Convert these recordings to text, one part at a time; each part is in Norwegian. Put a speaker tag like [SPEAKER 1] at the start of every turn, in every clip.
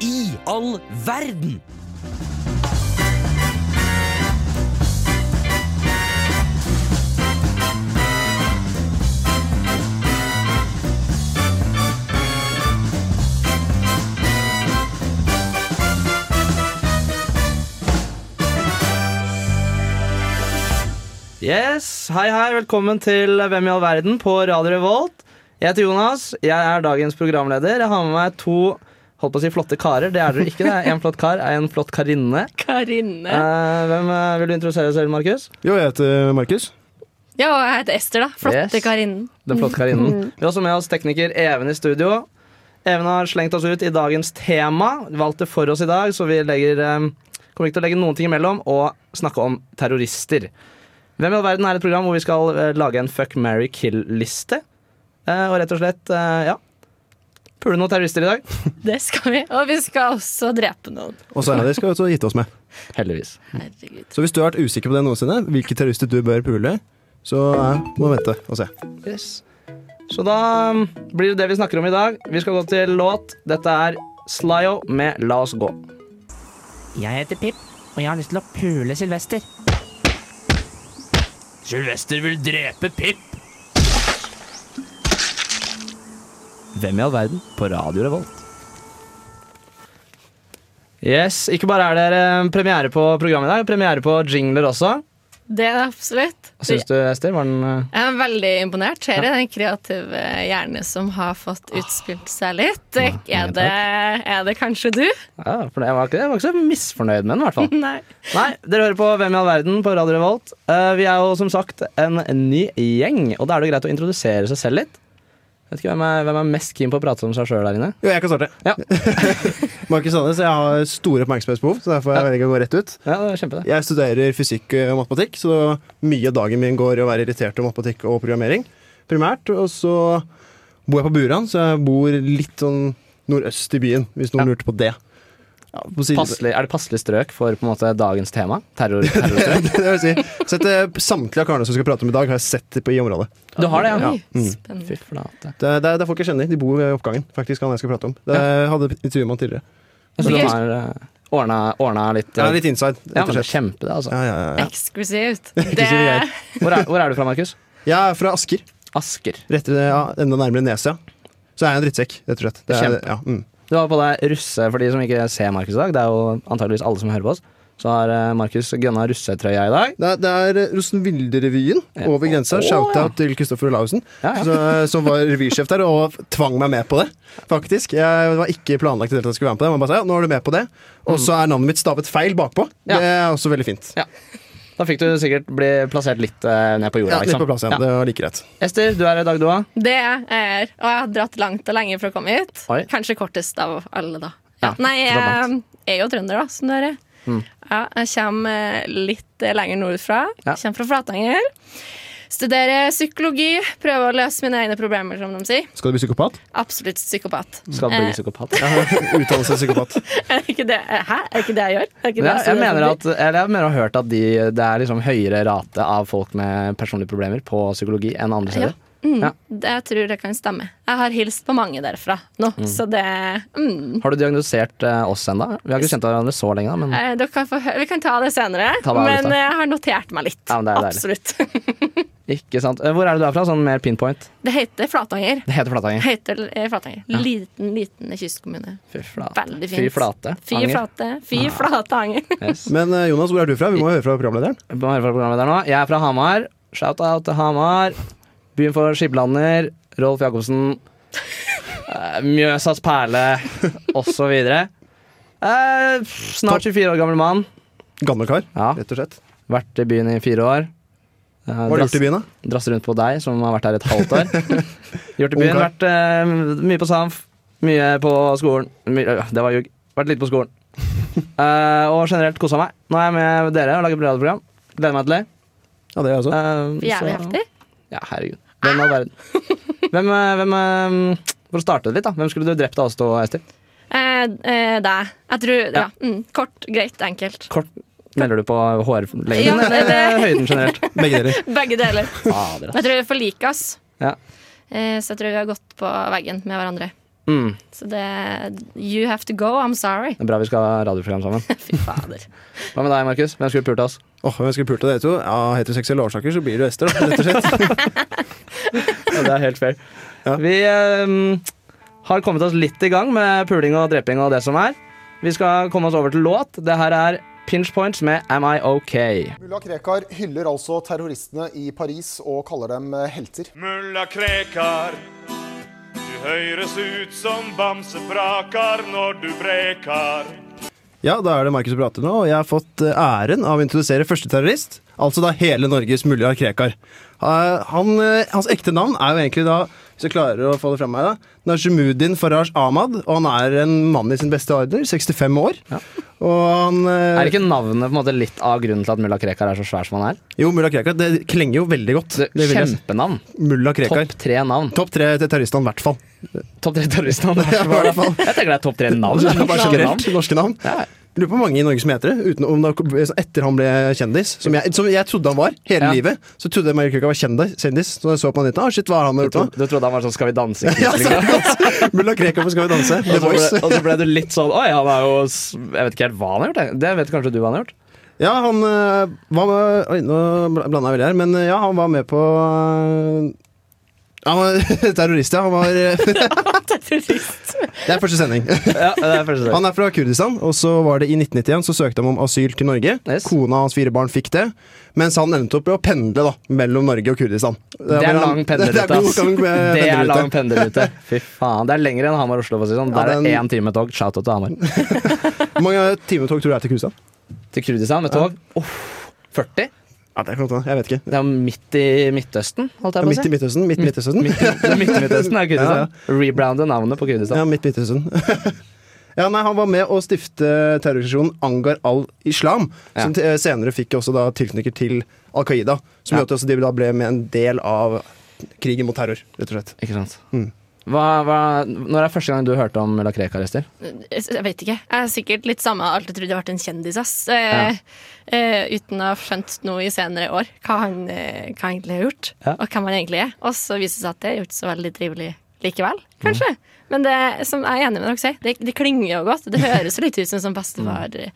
[SPEAKER 1] i all verden?
[SPEAKER 2] Yes, Hei, hei. Velkommen til Hvem i all verden på Radio Revolt. Jeg heter Jonas. Jeg er dagens programleder. Jeg har med meg to holdt på å si flotte karer. Det er dere ikke. Det er En flott kar er en flott karinne.
[SPEAKER 3] Karinne.
[SPEAKER 2] Eh, hvem eh, Vil du introdusere deg selv, Markus?
[SPEAKER 4] Jo, jeg heter eh, Markus.
[SPEAKER 3] Ja, og jeg heter Ester, da. Flotte
[SPEAKER 2] Yes.
[SPEAKER 3] Karinnen.
[SPEAKER 2] Den flotte karinnen. Vi har også med oss tekniker Even i studio. Even har slengt oss ut i dagens tema. Valgt det for oss i dag, så vi legger, eh, kommer ikke til å legge noen ting imellom og snakke om terrorister. Hvem i all verden er et program hvor vi skal eh, lage en fuck, marry, kill-liste. Eh, og rett og slett, eh, ja Puler noen terrorister i dag?
[SPEAKER 3] Det skal vi. Og vi skal også drepe noen.
[SPEAKER 4] Og så er det skal vi også gitte oss med.
[SPEAKER 2] Heldigvis.
[SPEAKER 3] Herregud.
[SPEAKER 4] Så hvis du har vært usikker på det noensinne, hvilke terrorister du bør pule, så eh, må du vente og se.
[SPEAKER 2] Yes. Så da mm, blir det det vi snakker om i dag. Vi skal gå til låt. Dette er Slyo med La oss gå.
[SPEAKER 5] Jeg heter Pip, og jeg har lyst til å pule Sylvester.
[SPEAKER 1] Sylvester vil drepe Pip.
[SPEAKER 2] Hvem i all verden på Radio Revolt? Yes, ikke bare er det eh, premiere på programmet i dag, premiere på jingler også.
[SPEAKER 3] Det er det absolutt.
[SPEAKER 2] Hva syns du, Ester? Var den eh,
[SPEAKER 3] Jeg er veldig imponert. Ser du den kreative hjerne som har fått utspilt seg litt?
[SPEAKER 2] Ah,
[SPEAKER 3] Er det, er det kanskje du?
[SPEAKER 2] ja, for Jeg var ikke, jeg var ikke så misfornøyd med den, i hvert fall.
[SPEAKER 3] Nei.
[SPEAKER 2] Nei, dere hører på Hvem i all verden på Radio Revolt. Eh, vi er jo som sagt en ny gjeng, og da er det jo greit å introdusere seg selv litt. Vet ikke hvem er, hvem er mest keen på å prate om seg sjøl der inne?
[SPEAKER 4] Jo, jeg kan starte.
[SPEAKER 2] Ja.
[SPEAKER 4] Markus Sandnes, jeg har store oppmerksomhetsbehov, så derfor velger jeg å gå rett ut.
[SPEAKER 2] Ja, det er kjempe det.
[SPEAKER 4] Jeg studerer fysikk og matematikk, så mye av dagen min går i å være irritert om matematikk og programmering. Primært. Og så bor jeg på Buran, så jeg bor litt sånn nordøst i byen, hvis noen
[SPEAKER 2] Ja.
[SPEAKER 4] lurte på det. Ja, på siden-
[SPEAKER 2] Passelig, er det passelig strøk for på en måte dagens tema? Terror, terrorstrøk?
[SPEAKER 4] det vil si, sett, eh, samtlige av karene som vi skal prate om i dag, har jeg sett på i området.
[SPEAKER 2] Du har det, ja? Mm.
[SPEAKER 3] Oi,
[SPEAKER 2] Fy
[SPEAKER 3] Spennende.
[SPEAKER 2] flate.
[SPEAKER 4] Det, det, det er folk jeg kjenner. De bor i oppgangen. faktisk, han jeg skal prate om. Det hadde intervjuet med han tidligere.
[SPEAKER 2] Så
[SPEAKER 3] Ok.
[SPEAKER 2] de har eh, ordna, ordna litt
[SPEAKER 4] Ja, litt inside.
[SPEAKER 2] Ja,
[SPEAKER 4] rett
[SPEAKER 2] men
[SPEAKER 4] og
[SPEAKER 2] det er
[SPEAKER 4] slett.
[SPEAKER 2] kjempe det, altså.
[SPEAKER 4] Ja, ja, ja, ja.
[SPEAKER 3] Eksklusivt.
[SPEAKER 4] Ikke så greier.
[SPEAKER 2] Hvor er, hvor er du fra, Markus?
[SPEAKER 4] Jeg er fra Asker.
[SPEAKER 2] Asker.
[SPEAKER 4] Rett, ja, enda nærmere Nesia. Så er jeg en drittsekk, rett og slett. Det er,
[SPEAKER 2] Kjempe.
[SPEAKER 4] ja, mm.
[SPEAKER 2] Du har på deg russe, for de som ikke ser Markus i dag. Det er jo antageligvis alle som hører på oss. Så har eh, Markus gønna russetrøya i dag.
[SPEAKER 4] det, er, det er eh, Rosenvilde-revyen
[SPEAKER 2] Ja.
[SPEAKER 4] over grensa.
[SPEAKER 2] Å,
[SPEAKER 4] Shout-out til Kristoffer Olaussen,
[SPEAKER 2] Ja, ja.
[SPEAKER 4] så- som var revysjef der og tvang meg med på det. faktisk. Jeg det var ikke planlagt i det hele tatt at jeg skulle være med på det. Man bare sa, ja, nå er du med på det. Og så er navnet mitt stavet feil bakpå.
[SPEAKER 2] Ja.
[SPEAKER 4] Det er også veldig fint.
[SPEAKER 2] Da fikk du sikkert bli plassert litt eh, ned på
[SPEAKER 4] Ja,
[SPEAKER 2] jorda.
[SPEAKER 4] litt
[SPEAKER 2] liksom.
[SPEAKER 4] på plass igjen.
[SPEAKER 2] Ja.
[SPEAKER 4] Det var like greit.
[SPEAKER 2] Ester, du er i dag, du òg.
[SPEAKER 3] Det er jeg er. Og jeg har dratt langt og lenge for å komme hit.
[SPEAKER 2] Oi.
[SPEAKER 3] Kanskje kortest av alle, da.
[SPEAKER 2] Ja,
[SPEAKER 3] Nei, jeg
[SPEAKER 2] rabatt.
[SPEAKER 3] er jo trønder, da, som dere.
[SPEAKER 2] Mm.
[SPEAKER 3] Ja, jeg kommer litt lenger nordfra.
[SPEAKER 2] Ja.
[SPEAKER 3] Kommer fra Flatanger. Studerer psykologi. Prøver å løse mine egne problemer, som de sier.
[SPEAKER 4] Skal du bli psykopat?
[SPEAKER 3] Absolutt psykopat.
[SPEAKER 2] Skal bli
[SPEAKER 3] Eh,
[SPEAKER 2] psykopat.
[SPEAKER 4] Utdannelsespsykopat.
[SPEAKER 3] Er det ikke det, hæ? Er det ikke det jeg gjør? Er det ikke det
[SPEAKER 2] Ja, jeg,
[SPEAKER 3] studerer
[SPEAKER 2] mener
[SPEAKER 3] forbi?
[SPEAKER 2] at, eller jeg mener å ha hørt at de, det er liksom høyere rate av folk med personlige problemer på psykologi enn andre steder. Ja.
[SPEAKER 3] Det, Jeg tror det kan stemme. Jeg har hilst på mange derfra nå, så det mm.
[SPEAKER 2] Har du diagnosert eh, oss ennå? Vi har ikke kjent hverandre så lenge, da, men
[SPEAKER 3] Eh, dere kan få hø Vi kan ta det senere,
[SPEAKER 2] Mm. Ta det av
[SPEAKER 3] men
[SPEAKER 2] lista.
[SPEAKER 3] eh, jeg har notert meg litt.
[SPEAKER 2] Ja, men det er jo
[SPEAKER 3] Absolutt.
[SPEAKER 2] ikke sant. Eh, Hvor er det du er fra? Sånn mer pinpoint.
[SPEAKER 3] Det heter Flatanger.
[SPEAKER 2] Det heter Flatanger.
[SPEAKER 3] Heter eh, Flatanger. Liten, liten kystkommune.
[SPEAKER 2] Fy flate.
[SPEAKER 3] Veldig fint.
[SPEAKER 2] Fy flate.
[SPEAKER 3] Fy
[SPEAKER 2] Anger.
[SPEAKER 3] flate. Fy Flatanger.
[SPEAKER 2] Yes.
[SPEAKER 4] Men eh, Jonas, hvor er du fra? Vi må høre fra programlederen.
[SPEAKER 2] Vi må høre fra programlederen nå. Jeg er fra Hamar. Shout-out til Hamar. Byen for Skiblander. Rolf Jacobsen. eh, Mjøsas perle, osv. Uh, snart 24 år gammel mann.
[SPEAKER 4] Gammel kar,
[SPEAKER 2] Ja.
[SPEAKER 4] rett og slett.
[SPEAKER 2] Vært i byen i fire år. Eh,
[SPEAKER 4] Hva har du gjort i byen, da?
[SPEAKER 2] drass rundt på deg, som har vært her et halvt år. Gjort i
[SPEAKER 4] Ung
[SPEAKER 2] byen.
[SPEAKER 4] kar.
[SPEAKER 2] Vært eh, mye på Samf, mye på skolen. My, øh, det var ljug. Vært lite på skolen. Eh, og generelt kosa meg. Nå er jeg med dere og lager radioprogram. Gleder meg til det.
[SPEAKER 4] Ja, det er jeg også.
[SPEAKER 2] Eh,
[SPEAKER 3] Jævlig
[SPEAKER 2] så-
[SPEAKER 3] heftig.
[SPEAKER 2] Ja, herregud. Hvem av verden? Hvem, eh, hvem eh, For å starte det litt, da. Hvem skulle du drept av oss to, Ester?
[SPEAKER 3] Eh, eh, deg. Jeg tror Ja.
[SPEAKER 2] Ja.
[SPEAKER 3] Mm, kort, greit, enkelt.
[SPEAKER 2] Kort melder du på hårlengden
[SPEAKER 3] Ja, det-
[SPEAKER 2] eller høyden generelt?
[SPEAKER 4] Eh. Begge deler.
[SPEAKER 3] Begge deler.
[SPEAKER 2] Fader, ass.
[SPEAKER 3] Jeg tror vi er for like, ass.
[SPEAKER 2] Ja.
[SPEAKER 3] Eh, så jeg tror vi har gått på veggen med hverandre.
[SPEAKER 2] Mm.
[SPEAKER 3] Så det You have to go, I'm sorry.
[SPEAKER 2] Det er bra vi skal ha radioprogram sammen.
[SPEAKER 3] Fy fader.
[SPEAKER 2] Hva med deg, Markus? Hvem skulle pult oss?
[SPEAKER 4] Åh, Hvem skulle pult av dere to? Ja, Heteroseksuelle årsaker, så blir du Ester, da, rett og slett.
[SPEAKER 2] Ja, det er helt fair.
[SPEAKER 4] Ja.
[SPEAKER 2] Vi ehm, har kommet oss litt i gang med puling og dreping og det som er. Vi skal komme oss over til låt. Det her er Pinch Points med Am I OK?
[SPEAKER 6] Mulla Krekar hyller altså terroristene i Paris og kaller dem eh, helter.
[SPEAKER 7] Mulla Krekar. Du høres ut som bamsebrakar når du brekar.
[SPEAKER 4] Ja, da er det Markus som prater nå, og jeg har fått eh, æren av å introdusere første terrorist. Altså da hele Norges mulla Krekar. Eh, Han, eh, hans ekte navn er jo egentlig da, hvis jeg klarer å få det fram meg, da, Najmuddin Faraj Ahmad. Og han er en mann i sin beste alder, 65 år. Og han eh,
[SPEAKER 2] Er ikke navnet på en måte litt av grunnen til at mulla Krekar er så svær som han er?
[SPEAKER 4] Jo, mulla Krekar. Det klinger jo veldig godt.
[SPEAKER 2] Det,
[SPEAKER 4] Det vil jeg si.
[SPEAKER 2] kjempenavn.
[SPEAKER 4] Mulla Krekar.
[SPEAKER 2] Topp tre navn.
[SPEAKER 4] Topp tre til terroristene, i hvert fall.
[SPEAKER 2] Topp tre terroristnavn.
[SPEAKER 4] Ja, i hvert fall.
[SPEAKER 2] Jeg tenker det er topp tre navn.
[SPEAKER 4] Det er Bare
[SPEAKER 2] Norske navn.
[SPEAKER 4] generelt norske navn. Jeg lurer på hvor mange i Norge som heter det. Uten, om det er- etter han ble kjendis, som jeg, som jeg trodde han var hele
[SPEAKER 2] Ja.
[SPEAKER 4] livet. Så trodde jeg Marie Krekar var kjendis, kjendis. Så jeg så på han litt, ah, shit, hva har han
[SPEAKER 2] Du,
[SPEAKER 4] gjort nå?
[SPEAKER 2] tro- du trodde han var sånn Skal vi danse?
[SPEAKER 4] Ja, Altså, så- Mulla Krekar på Skal vi danse. The
[SPEAKER 2] Og så
[SPEAKER 4] Voice.
[SPEAKER 2] ble, og så ble du litt sånn Oi, han er jo s- Jeg vet ikke helt hva han har gjort. jeg. Det vet kanskje du hva han har gjort.
[SPEAKER 4] Ja, han øh, var med, Oi, nå blanda jeg veldig her, men øh, ja, han var med på øh, Han var terrorist, ja. Han var øh,
[SPEAKER 3] Terrorist.
[SPEAKER 4] Det er første sending.
[SPEAKER 2] Ja, det er første
[SPEAKER 4] Han er fra Kurdistan, og så var det i 1991 så søkte han om asyl til Norge.
[SPEAKER 2] Yes.
[SPEAKER 4] Kona og hans fire barn fikk det, mens han endte opp med å pendle da, mellom Norge og Kurdistan.
[SPEAKER 2] Det er
[SPEAKER 4] mellom-
[SPEAKER 2] lang
[SPEAKER 4] Det er
[SPEAKER 2] pendlerrute.
[SPEAKER 4] god
[SPEAKER 2] ass.
[SPEAKER 4] gang med
[SPEAKER 2] Det er
[SPEAKER 4] pendlerrute.
[SPEAKER 2] lang pendlerrute. Fy faen. Det er lengre enn Hamar-Oslo. for å si det sånn.
[SPEAKER 4] Ja,
[SPEAKER 2] Der er det
[SPEAKER 4] den-
[SPEAKER 2] én time med tog. Shout-out til Hamar.
[SPEAKER 4] Hvor mange timer tog tror du det er til Kurdistan?
[SPEAKER 2] Til Kurdistan med tog. Uff, 40?
[SPEAKER 4] Ja, det er klart, jeg vet ikke.
[SPEAKER 2] Det er jo midt i Midtøsten, holdt jeg
[SPEAKER 4] Ja,
[SPEAKER 2] på å
[SPEAKER 4] midt i
[SPEAKER 2] si.
[SPEAKER 4] Midtøsten. Midt i Midtøsten.
[SPEAKER 2] Midt i det er midt i Midtøsten er
[SPEAKER 4] Ja, ja.
[SPEAKER 2] Kurdistan. Rebrande navnet på Kurdistan.
[SPEAKER 4] Ja, midt i Midtøsten. Ja, nei, Han var med å stifte terrororganisasjonen Angar al-Islam, som t- senere fikk også da tilknytning til Al Qaida. Som
[SPEAKER 2] Ja.
[SPEAKER 4] gjorde at også de da ble med en del av krigen mot terror, rett og slett.
[SPEAKER 2] Ikke sant.
[SPEAKER 4] Mm.
[SPEAKER 2] Hva, hva, når er første gang du hørte om Mulla Krekar, Ester?
[SPEAKER 3] Jeg vet ikke. Jeg er sikkert litt samme. Jeg har alltid trodd jeg har vært en kjendis, ass. Eh, eh, uten å ha skjønt noe i senere år hva han, eh, hva han egentlig har gjort,
[SPEAKER 2] Ja.
[SPEAKER 3] og hvem han egentlig er. Og så viser det seg at det er jo ikke så veldig trivelig likevel,
[SPEAKER 4] Mm.
[SPEAKER 3] kanskje. Men det som jeg er enig med dere sier, det, det klinger jo godt. Det høres jo litt ut som en sånn bestefar.
[SPEAKER 4] Mm.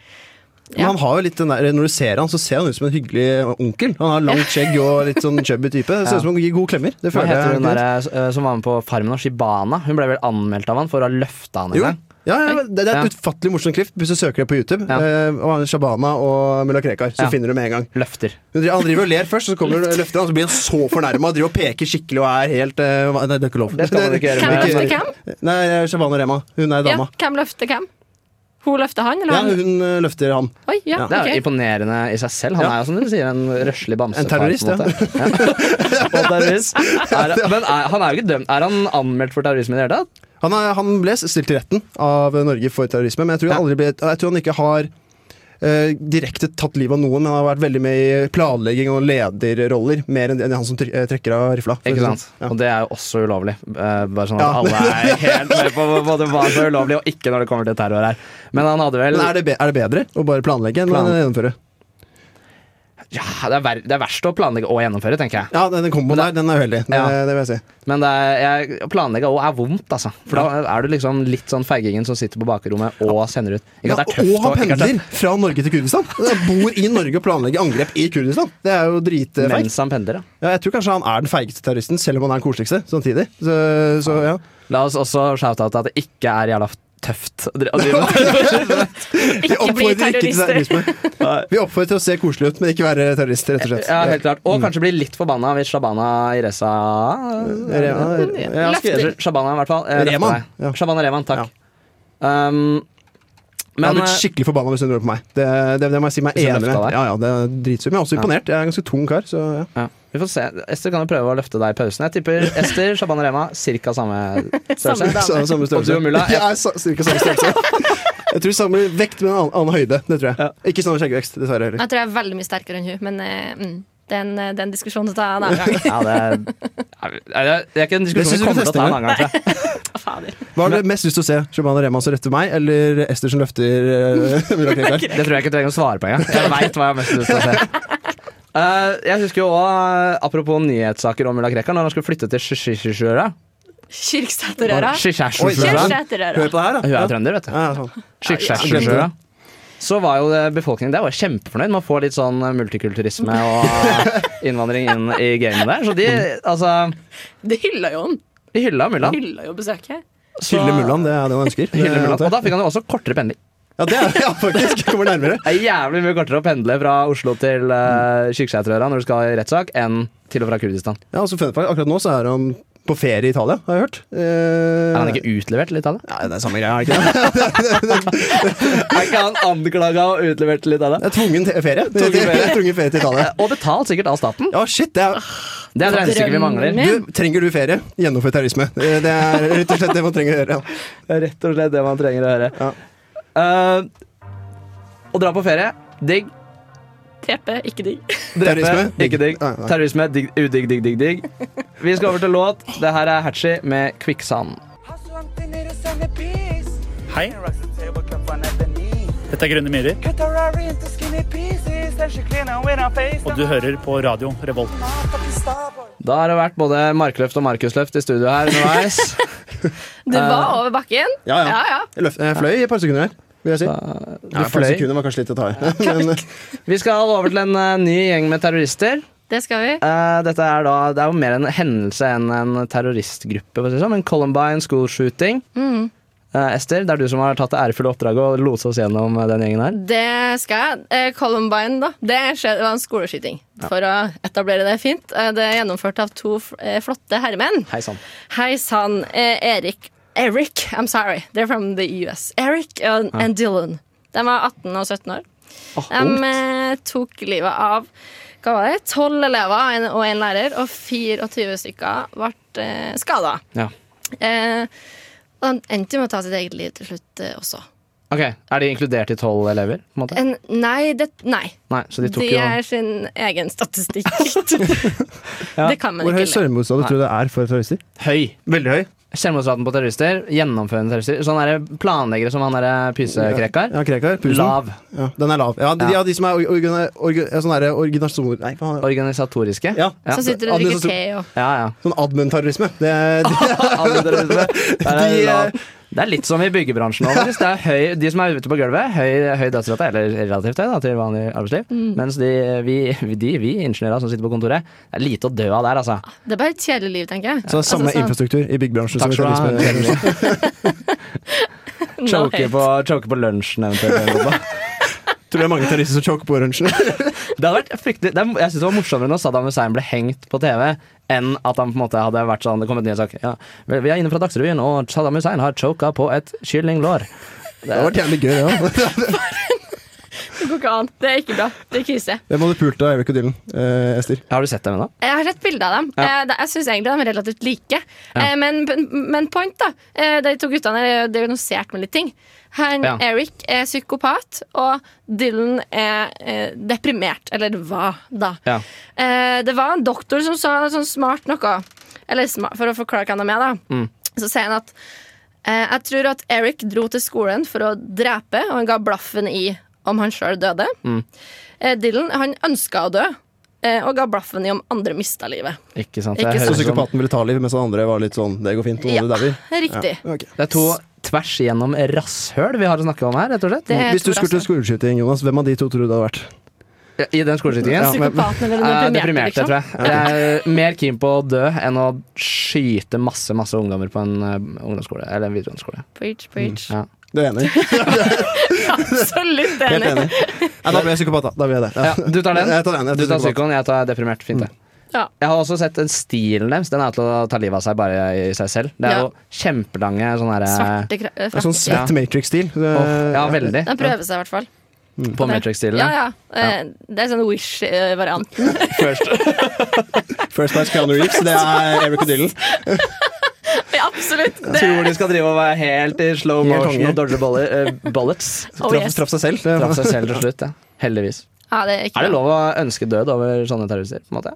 [SPEAKER 4] Men han har jo litt den der, Når du ser han, så ser han ut som en hyggelig onkel. Han har langt skjegg og litt sånn chubby type. Det ser ut som han gir gode klemmer. Det
[SPEAKER 2] Hva
[SPEAKER 4] føler
[SPEAKER 2] heter
[SPEAKER 4] jeg.
[SPEAKER 2] hun der, eh, som var med på Farmen og Shibana? Hun ble vel anmeldt av han for å ha løfta han en
[SPEAKER 4] Jo.
[SPEAKER 2] gang.
[SPEAKER 4] Ja, ja, men det, det er
[SPEAKER 2] Ja.
[SPEAKER 4] et utfattelig morsomt klipp hvis du søker det på YouTube.
[SPEAKER 2] Ja.
[SPEAKER 4] Eh, og han Shabana og mulla Krekar. Så
[SPEAKER 2] Ja.
[SPEAKER 4] finner du med en gang.
[SPEAKER 2] Løfter.
[SPEAKER 4] Hun driver- Han driver og ler først, så kommer hun og løfter han, så blir han så fornærma. Driver og peker skikkelig og er helt eh, hva- Nei, det er ikke lov.
[SPEAKER 2] Det skal man ikke gjøre
[SPEAKER 3] Hvem
[SPEAKER 2] med-
[SPEAKER 4] Ikke-
[SPEAKER 3] løfter hvem?
[SPEAKER 4] Nei, Shabana Rema. Hun er
[SPEAKER 3] Ja,
[SPEAKER 4] dama.
[SPEAKER 3] hvem løfter hvem? Hun løfter han, eller
[SPEAKER 4] Ja,
[SPEAKER 3] han?
[SPEAKER 4] hun eh, løfter han.
[SPEAKER 3] Oi, ja,
[SPEAKER 4] Ja.
[SPEAKER 2] Det er jo
[SPEAKER 3] ok.
[SPEAKER 2] imponerende i seg selv. Han
[SPEAKER 4] Ja.
[SPEAKER 2] er jo som du sier en røslig bamsefar.
[SPEAKER 4] En terrorist,
[SPEAKER 2] på en måte. ja. Og terrorist. Er, men er, han er jo ikke dømt. Er han anmeldt for terrorisme i det hele tatt?
[SPEAKER 4] Han, er, han ble stilt til retten av Norge for terrorisme, men jeg tror, han aldri ble, jeg tror han ikke har eh, direkte tatt livet av noen, men han har vært veldig med i planlegging og lederroller, mer enn enn han som tryk- eh, trekker av rifla. for å si
[SPEAKER 2] Ikke sant?
[SPEAKER 4] det sånn.
[SPEAKER 2] Og det er jo også ulovlig. Eh, bare sånn at
[SPEAKER 4] Ja.
[SPEAKER 2] alle er helt med på både hva som er ulovlig og ikke når det kommer til terror her. Men han hadde vel
[SPEAKER 4] Men er det, be, er det bedre å bare planlegge enn
[SPEAKER 2] Plan-
[SPEAKER 4] å gjennomføre?
[SPEAKER 2] ja, det, er ver det er verst å planlegge og gjennomføre, tenker jeg.
[SPEAKER 4] Ja, den, den komboen der, den er uheldig. Det,
[SPEAKER 2] Ja.
[SPEAKER 4] det vil jeg si.
[SPEAKER 2] Men det er, jeg, å planlegge og er vondt, altså. For da er du liksom litt sånn feigingen som sitter på bakrommet og sender ut. Ikke
[SPEAKER 4] Ja,
[SPEAKER 2] at det er tøft,
[SPEAKER 4] og
[SPEAKER 2] ikke
[SPEAKER 4] han
[SPEAKER 2] at det er
[SPEAKER 4] pendler fra Norge til Kurdistan! Han bor i Norge og planlegger angrep i Kurdistan! Det er jo
[SPEAKER 2] tøft
[SPEAKER 4] dritfeigt.
[SPEAKER 2] mens han pendler, ja.
[SPEAKER 4] Ja, jeg tror kanskje han er den feigeste terroristen, selv om han er den koseligste samtidig. Så, så ja.
[SPEAKER 2] La oss også shout-out at det ikke er jævla tøft å dri- å drive med
[SPEAKER 3] Ikke bli
[SPEAKER 4] oppfordrer ikke til
[SPEAKER 3] terrorister.
[SPEAKER 4] terrorisme. Vi oppfordrer til å se koselig ut, men ikke være terrorister, rett og slett. Mm.
[SPEAKER 2] Ja, helt klart. Og kanskje bli litt forbanna hvis Shabana Iresa
[SPEAKER 4] Rema- ja, skal jeg-
[SPEAKER 2] Eller Shabana, i hvert fall. eh,
[SPEAKER 4] Rehman.
[SPEAKER 2] løfter deg.
[SPEAKER 4] Ja.
[SPEAKER 2] Shabana Rehman, takk. Um,
[SPEAKER 4] Jeg har
[SPEAKER 2] men
[SPEAKER 4] blitt
[SPEAKER 2] eh,
[SPEAKER 4] skikkelig forbanna hvis hun rører på meg. Det, det, det må jeg si meg
[SPEAKER 2] Hvis hun
[SPEAKER 4] enig
[SPEAKER 2] løfta
[SPEAKER 4] med.
[SPEAKER 2] deg?
[SPEAKER 4] Ja, ja, det er dritsur. Men jeg er også imponert. Jeg er en ganske tung kar. Så ja.
[SPEAKER 2] ja, vi får se. Ester kan jo prøve å løfte deg i pausen. Jeg tipper Ester, Shabana Rema, cirka samme
[SPEAKER 3] Samme
[SPEAKER 2] størrelse.
[SPEAKER 3] dag.
[SPEAKER 4] Så, samme
[SPEAKER 2] Og du
[SPEAKER 4] størrelse.
[SPEAKER 2] og Mulla,
[SPEAKER 4] Jeg er sa, cirka samme størrelse. Jeg tror samme vekt, men en annen, annen høyde. Det tror jeg. Ikke samme skjeggvekst, dessverre. heller.
[SPEAKER 3] Jeg tror jeg er veldig mye sterkere enn hun, men eh, mm, det er en, det er en diskusjon å ta en annen gang.
[SPEAKER 2] Ja, det er, Nei, det er ikke en
[SPEAKER 4] Det
[SPEAKER 2] diskusjon vi
[SPEAKER 4] synes jeg vi
[SPEAKER 2] kommer til å
[SPEAKER 4] tester
[SPEAKER 2] ta en
[SPEAKER 4] med.
[SPEAKER 2] annen gang. tror jeg.
[SPEAKER 3] Fader.
[SPEAKER 4] Hva har du mest lyst til å se? Shabana Rehman som retter meg, eller Ester som løfter eh, Mulla Krekar?
[SPEAKER 2] Det tror jeg ikke trenger å svare på engang. Jeg veit hva jeg har mest lyst til å se. Eh, jeg husker jo også, eh, Apropos nyhetssaker om Mulla Krekar, når han skulle flytte til Shishishishuøra
[SPEAKER 3] Kyrksæterøra.
[SPEAKER 2] Skisjæsjusjøra.
[SPEAKER 3] Kyrksæterøra.
[SPEAKER 4] Hør på det her, da.
[SPEAKER 2] Hun er
[SPEAKER 4] Ja.
[SPEAKER 2] jo trønder, vet du.
[SPEAKER 4] Ja, sånn.
[SPEAKER 2] Skisjæsjusjøra. Så var jo det- befolkningen der var kjempefornøyd. Man får litt sånn multikulturisme og eh, innvandring inn i gamet der. Så de, altså
[SPEAKER 3] Det hylla jo han.
[SPEAKER 2] De hylla mulla.
[SPEAKER 3] Hylla jo besøket.
[SPEAKER 2] Så-
[SPEAKER 4] Hylle Mullan, det er det han ønsker.
[SPEAKER 2] Hylle mulla.
[SPEAKER 4] Det-
[SPEAKER 2] Og da fikk han jo også kortere pendling.
[SPEAKER 4] Ja, det er ja, faktisk. Kommer nærmere.
[SPEAKER 2] Det er jævlig mye kortere å pendle fra Oslo til uh, Kyrksæterøra når du skal i rettssak, enn til og fra Kurdistan.
[SPEAKER 4] Ja, altså, fun fact, akkurat nå så er han på ferie i Italia, har jeg hørt. Eh,
[SPEAKER 2] Er han ikke utlevert til Italia?
[SPEAKER 4] Nei, det er samme greia, er det ikke det?
[SPEAKER 2] Er ikke han anklaga og utlevert til Italia?
[SPEAKER 4] Det er tvungen te- ferie.
[SPEAKER 2] Tvungen ferie.
[SPEAKER 4] Tvungen ferie til Italia.
[SPEAKER 2] Eh, Og betalt sikkert av staten.
[SPEAKER 4] Ja, shit, det er
[SPEAKER 2] Det er et regnestykke vi
[SPEAKER 3] Drømmen
[SPEAKER 2] mangler.
[SPEAKER 3] min.
[SPEAKER 4] du, Trenger du ferie? Gjennomfør terrorisme. Eh, Det er rett og slett det man trenger å gjøre. Ja.
[SPEAKER 2] Rett og slett det man trenger å høre.
[SPEAKER 4] Ja.
[SPEAKER 2] Eh, å dra på ferie digg.
[SPEAKER 3] Tepe, ikke digg.
[SPEAKER 4] Terrorisme? Ah,
[SPEAKER 2] Drepe, Ikke digg.
[SPEAKER 4] Nei, nei.
[SPEAKER 2] Terrorisme digg, udigg, digg, digg, digg. Vi skal over til låt. Det her er Hatchie med 'Kvikksand'.
[SPEAKER 8] Hei. Dette er Grønne myrer, og du hører på radio Revolt.
[SPEAKER 2] Da har det vært både markløft og markusløft i studio her underveis.
[SPEAKER 3] Det var over bakken.
[SPEAKER 4] Eh, Ja, ja.
[SPEAKER 3] Ja, ja.
[SPEAKER 4] Jeg, løf, jeg fløy i et par sekunder her, vil jeg si.
[SPEAKER 2] Du
[SPEAKER 4] Ja, et par
[SPEAKER 2] fløy.
[SPEAKER 4] sekunder var kanskje litt å ta i. Men, eh,
[SPEAKER 2] Vi skal over til en eh, ny gjeng med terrorister.
[SPEAKER 3] Det skal vi.
[SPEAKER 2] Eh, dette er da, Det er jo mer en hendelse enn en terroristgruppe. for å si det sånn. En Columbine school shooting.
[SPEAKER 3] Mm.
[SPEAKER 2] Eh, Ester, det er du som har tatt det ærefulle oppdraget og loset oss gjennom eh, den gjengen her.
[SPEAKER 3] Det skal jeg. Eh, Columbine, da. Det, skjedde, det var en skoleskyting. For å etablere det fint. Eh, Det er gjennomført av to f- eh, flotte herremenn.
[SPEAKER 2] Hei sann.
[SPEAKER 3] Hei sann, eh, Erik Eric, I'm sorry, they're from the US. Eric and, and Dylan. De var 18 og 17 år. De eh, tok livet av hva var det, 12 elever en- og en lærer, og 24 stykker ble eh, skada.
[SPEAKER 2] Ja.
[SPEAKER 3] Eh, og de endte jo med å ta sitt eget liv til slutt eh, også.
[SPEAKER 2] Ok, Er de inkludert i tolv elever? på en måte?
[SPEAKER 3] En, nei, det, nei.
[SPEAKER 2] Nei, så de tok
[SPEAKER 3] Eh, De
[SPEAKER 2] jo
[SPEAKER 3] er sin egen statistikk. Det kan man
[SPEAKER 4] Hvor høy
[SPEAKER 3] ikke le.
[SPEAKER 4] selvmordsdal tror du det er for terrorister?
[SPEAKER 2] høy.
[SPEAKER 4] Veldig høy.
[SPEAKER 2] Selvmordsraten på terrorister, gjennomførende terrorister. Sånn er det planleggere som han derre pysekrekar.
[SPEAKER 4] Ja, Krekar. Pusen.
[SPEAKER 2] Lav.
[SPEAKER 4] Ja, den er lav. Ja, de,
[SPEAKER 2] Ja.
[SPEAKER 4] ja. de som er orga, orga, ja, sånne sånn der originasjoner Nei, faen.
[SPEAKER 2] Organisatoriske.
[SPEAKER 4] Ja.
[SPEAKER 2] Ja.
[SPEAKER 3] Som sitter og drikker
[SPEAKER 4] Administrasjon-
[SPEAKER 3] te og
[SPEAKER 2] ja. ja.
[SPEAKER 4] Sånn admin-terrorisme. Det, er- det,
[SPEAKER 2] Antiterrorisme. Der er
[SPEAKER 4] De, eh,
[SPEAKER 2] lav. Det er litt som i byggebransjen. nå, faktisk. Det er høy, de som er ute på gulvet, høy, høy dødsrate, eller relativt høy da, til vanlig arbeidsliv. Mens de vi, de, vi ingeniører som sitter på kontoret, det er lite å dø av der, altså.
[SPEAKER 3] Det er bare et kjedelig liv, tenker jeg.
[SPEAKER 4] så det er
[SPEAKER 3] Altså,
[SPEAKER 4] samme
[SPEAKER 3] sånn-
[SPEAKER 4] infrastruktur i byggbransjen
[SPEAKER 2] Takk
[SPEAKER 4] som i
[SPEAKER 2] skal du
[SPEAKER 4] terrorisme.
[SPEAKER 2] ha. Choke
[SPEAKER 3] Nei.
[SPEAKER 2] på, choke på lunsjen eventuelt.
[SPEAKER 4] Tror det er mange terrorister som choker på oransjen.
[SPEAKER 2] Det hadde vært fryktelig, det er, jeg synes det var morsommere når Saddam Hussein ble hengt på TV, enn at han på en måte hadde vært sånn Det kom et nyhetssak. Ja, vel, vi er inne fra Dagsrevyen, og Saddam Hussein har choka på et kyllinglår.
[SPEAKER 4] Det hadde vært jævlig gøy, ja.
[SPEAKER 3] Det går ikke an. Det er ikke bra. Det er krise.
[SPEAKER 4] Hvem hadde pult av Eric og Dylan? Eh, Ester.
[SPEAKER 2] Har du sett dem ennå?
[SPEAKER 3] Jeg har sett bilder av dem.
[SPEAKER 2] Ja.
[SPEAKER 3] Eh, det- Jeg syns egentlig de er relativt like. Eh, Men, men point, da. Eh, De to guttene er diagnosert med litt ting. Han,
[SPEAKER 2] Ja.
[SPEAKER 3] Eric er psykopat, og Dylan er eh, deprimert. Eller hva, da?
[SPEAKER 2] Ja.
[SPEAKER 3] Eh, det var en doktor som sa sånn smart noe. Eller sma- for å forklare hva han er med, da.
[SPEAKER 4] Mm.
[SPEAKER 3] Så sier han at eh, jeg tror at Eric dro til skolen for å drepe, og han ga blaffen i om han sjøl døde.
[SPEAKER 4] Mm.
[SPEAKER 3] Eh, Dylan han ønska å dø, eh, og ga blaffen i om andre mista livet.
[SPEAKER 2] Ikke sant?
[SPEAKER 3] Ikke
[SPEAKER 2] Det, høres
[SPEAKER 4] Så
[SPEAKER 3] sant.
[SPEAKER 2] som,
[SPEAKER 4] psykopaten ville ta liv, mens han andre var litt sånn Det går fint. Noen
[SPEAKER 3] Ja.
[SPEAKER 4] andre dauer.
[SPEAKER 3] Riktig.
[SPEAKER 4] Ja, ok.
[SPEAKER 2] det er to tvers igjennom rasshøl vi har å snakke om her, rett og slett.
[SPEAKER 3] Det er
[SPEAKER 4] Hvis du
[SPEAKER 3] to
[SPEAKER 4] skulle til
[SPEAKER 3] raser.
[SPEAKER 4] skoleskyting, Jonas, hvem av de to tror du det hadde vært?
[SPEAKER 2] I den skoleskytingen.
[SPEAKER 4] Ja, men-
[SPEAKER 3] Psykopaten eller
[SPEAKER 2] Eh,
[SPEAKER 3] den
[SPEAKER 2] deprimerte,
[SPEAKER 3] deprimerte, liksom.
[SPEAKER 2] tror jeg. Jeg er mer keen på å dø enn å skyte masse masse ungdommer på en eh, ungdomsskole eller en videregående skole.
[SPEAKER 3] Preach, preach.
[SPEAKER 2] Ja.
[SPEAKER 4] Du er enig?
[SPEAKER 3] Absolutt
[SPEAKER 4] Helt
[SPEAKER 3] enig.
[SPEAKER 4] enig. Nei, da blir jeg psykopat, da. da blir jeg det.
[SPEAKER 2] Ja, du tar den?
[SPEAKER 4] Jeg tar den. Jeg
[SPEAKER 2] Du tar
[SPEAKER 4] tar psykopat.
[SPEAKER 2] psykoen, jeg tar deprimert. Fint, det.
[SPEAKER 3] Ja.
[SPEAKER 2] Jeg har også sett den stilen deres. Den er til å ta livet av seg bare i seg selv. Det er
[SPEAKER 3] Ja.
[SPEAKER 2] jo kjempelange sånne her eh,
[SPEAKER 3] Svarte kra-
[SPEAKER 4] Eh, Det er sånn
[SPEAKER 3] frakker.
[SPEAKER 4] svett Matrix-stil. Det-
[SPEAKER 2] Åh, Ja, veldig.
[SPEAKER 3] Den prøver seg i hvert fall.
[SPEAKER 2] På Matrix-stilen.
[SPEAKER 3] Ja, ja. Eh, Det er sånn Wish-variant.
[SPEAKER 4] First Nights Keanu Reeves, det er Eric og Dylan.
[SPEAKER 3] Ja, absolutt. Det,
[SPEAKER 2] Tror de skal drive og være helt i slow
[SPEAKER 4] Helt
[SPEAKER 2] motion
[SPEAKER 4] konge.
[SPEAKER 2] og dodge bullet, eh, bullets.
[SPEAKER 3] Oh,
[SPEAKER 4] Traff,
[SPEAKER 3] yes.
[SPEAKER 4] traff seg selv. Det-
[SPEAKER 2] Traff seg selv til slutt, ja. Heldigvis.
[SPEAKER 3] ja, det er ikke
[SPEAKER 2] Er det
[SPEAKER 3] bra.
[SPEAKER 2] lov å ønske død over sånne terrorister? på en måte?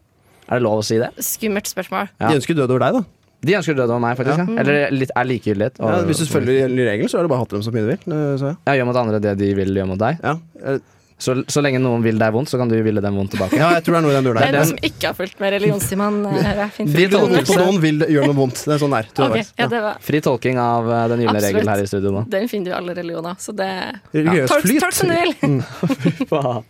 [SPEAKER 2] Er det lov å si det?
[SPEAKER 3] Skummelt spørsmål.
[SPEAKER 2] Ja.
[SPEAKER 4] De ønsker død over deg, da.
[SPEAKER 2] De ønsker død over meg, faktisk. Ja. Eller litt, er likegyldighet.
[SPEAKER 4] Ja,
[SPEAKER 2] over-
[SPEAKER 4] hvis du følger regelen, så er det bare å hate dem så mye du vil. eh, Så, ja.
[SPEAKER 2] Ja, gjør mot andre det de vil gjøre mot deg.
[SPEAKER 4] Ja. eh,
[SPEAKER 2] Så, så lenge noen vil deg vondt, så kan du ville dem vondt tilbake.
[SPEAKER 4] Ja, jeg tror det er noe i den duren
[SPEAKER 3] Det er
[SPEAKER 4] der.
[SPEAKER 3] noen som ikke har fulgt med religionstimen. eh, Finn
[SPEAKER 4] Vil
[SPEAKER 3] Fulton.
[SPEAKER 4] vondt på noen, vil gjøre noe vondt. Det er sånn det er. tror
[SPEAKER 3] Ok,
[SPEAKER 4] jeg faktisk.
[SPEAKER 3] ja, det var,
[SPEAKER 2] Fri tolking av eh, den gylne
[SPEAKER 3] Absolutt.
[SPEAKER 2] regel her i studio nå.
[SPEAKER 3] den finner du i alle religioner, så det
[SPEAKER 4] Religiøs
[SPEAKER 3] Tolk
[SPEAKER 4] flyt.
[SPEAKER 3] tolk som du vil!
[SPEAKER 2] Mm. Faen.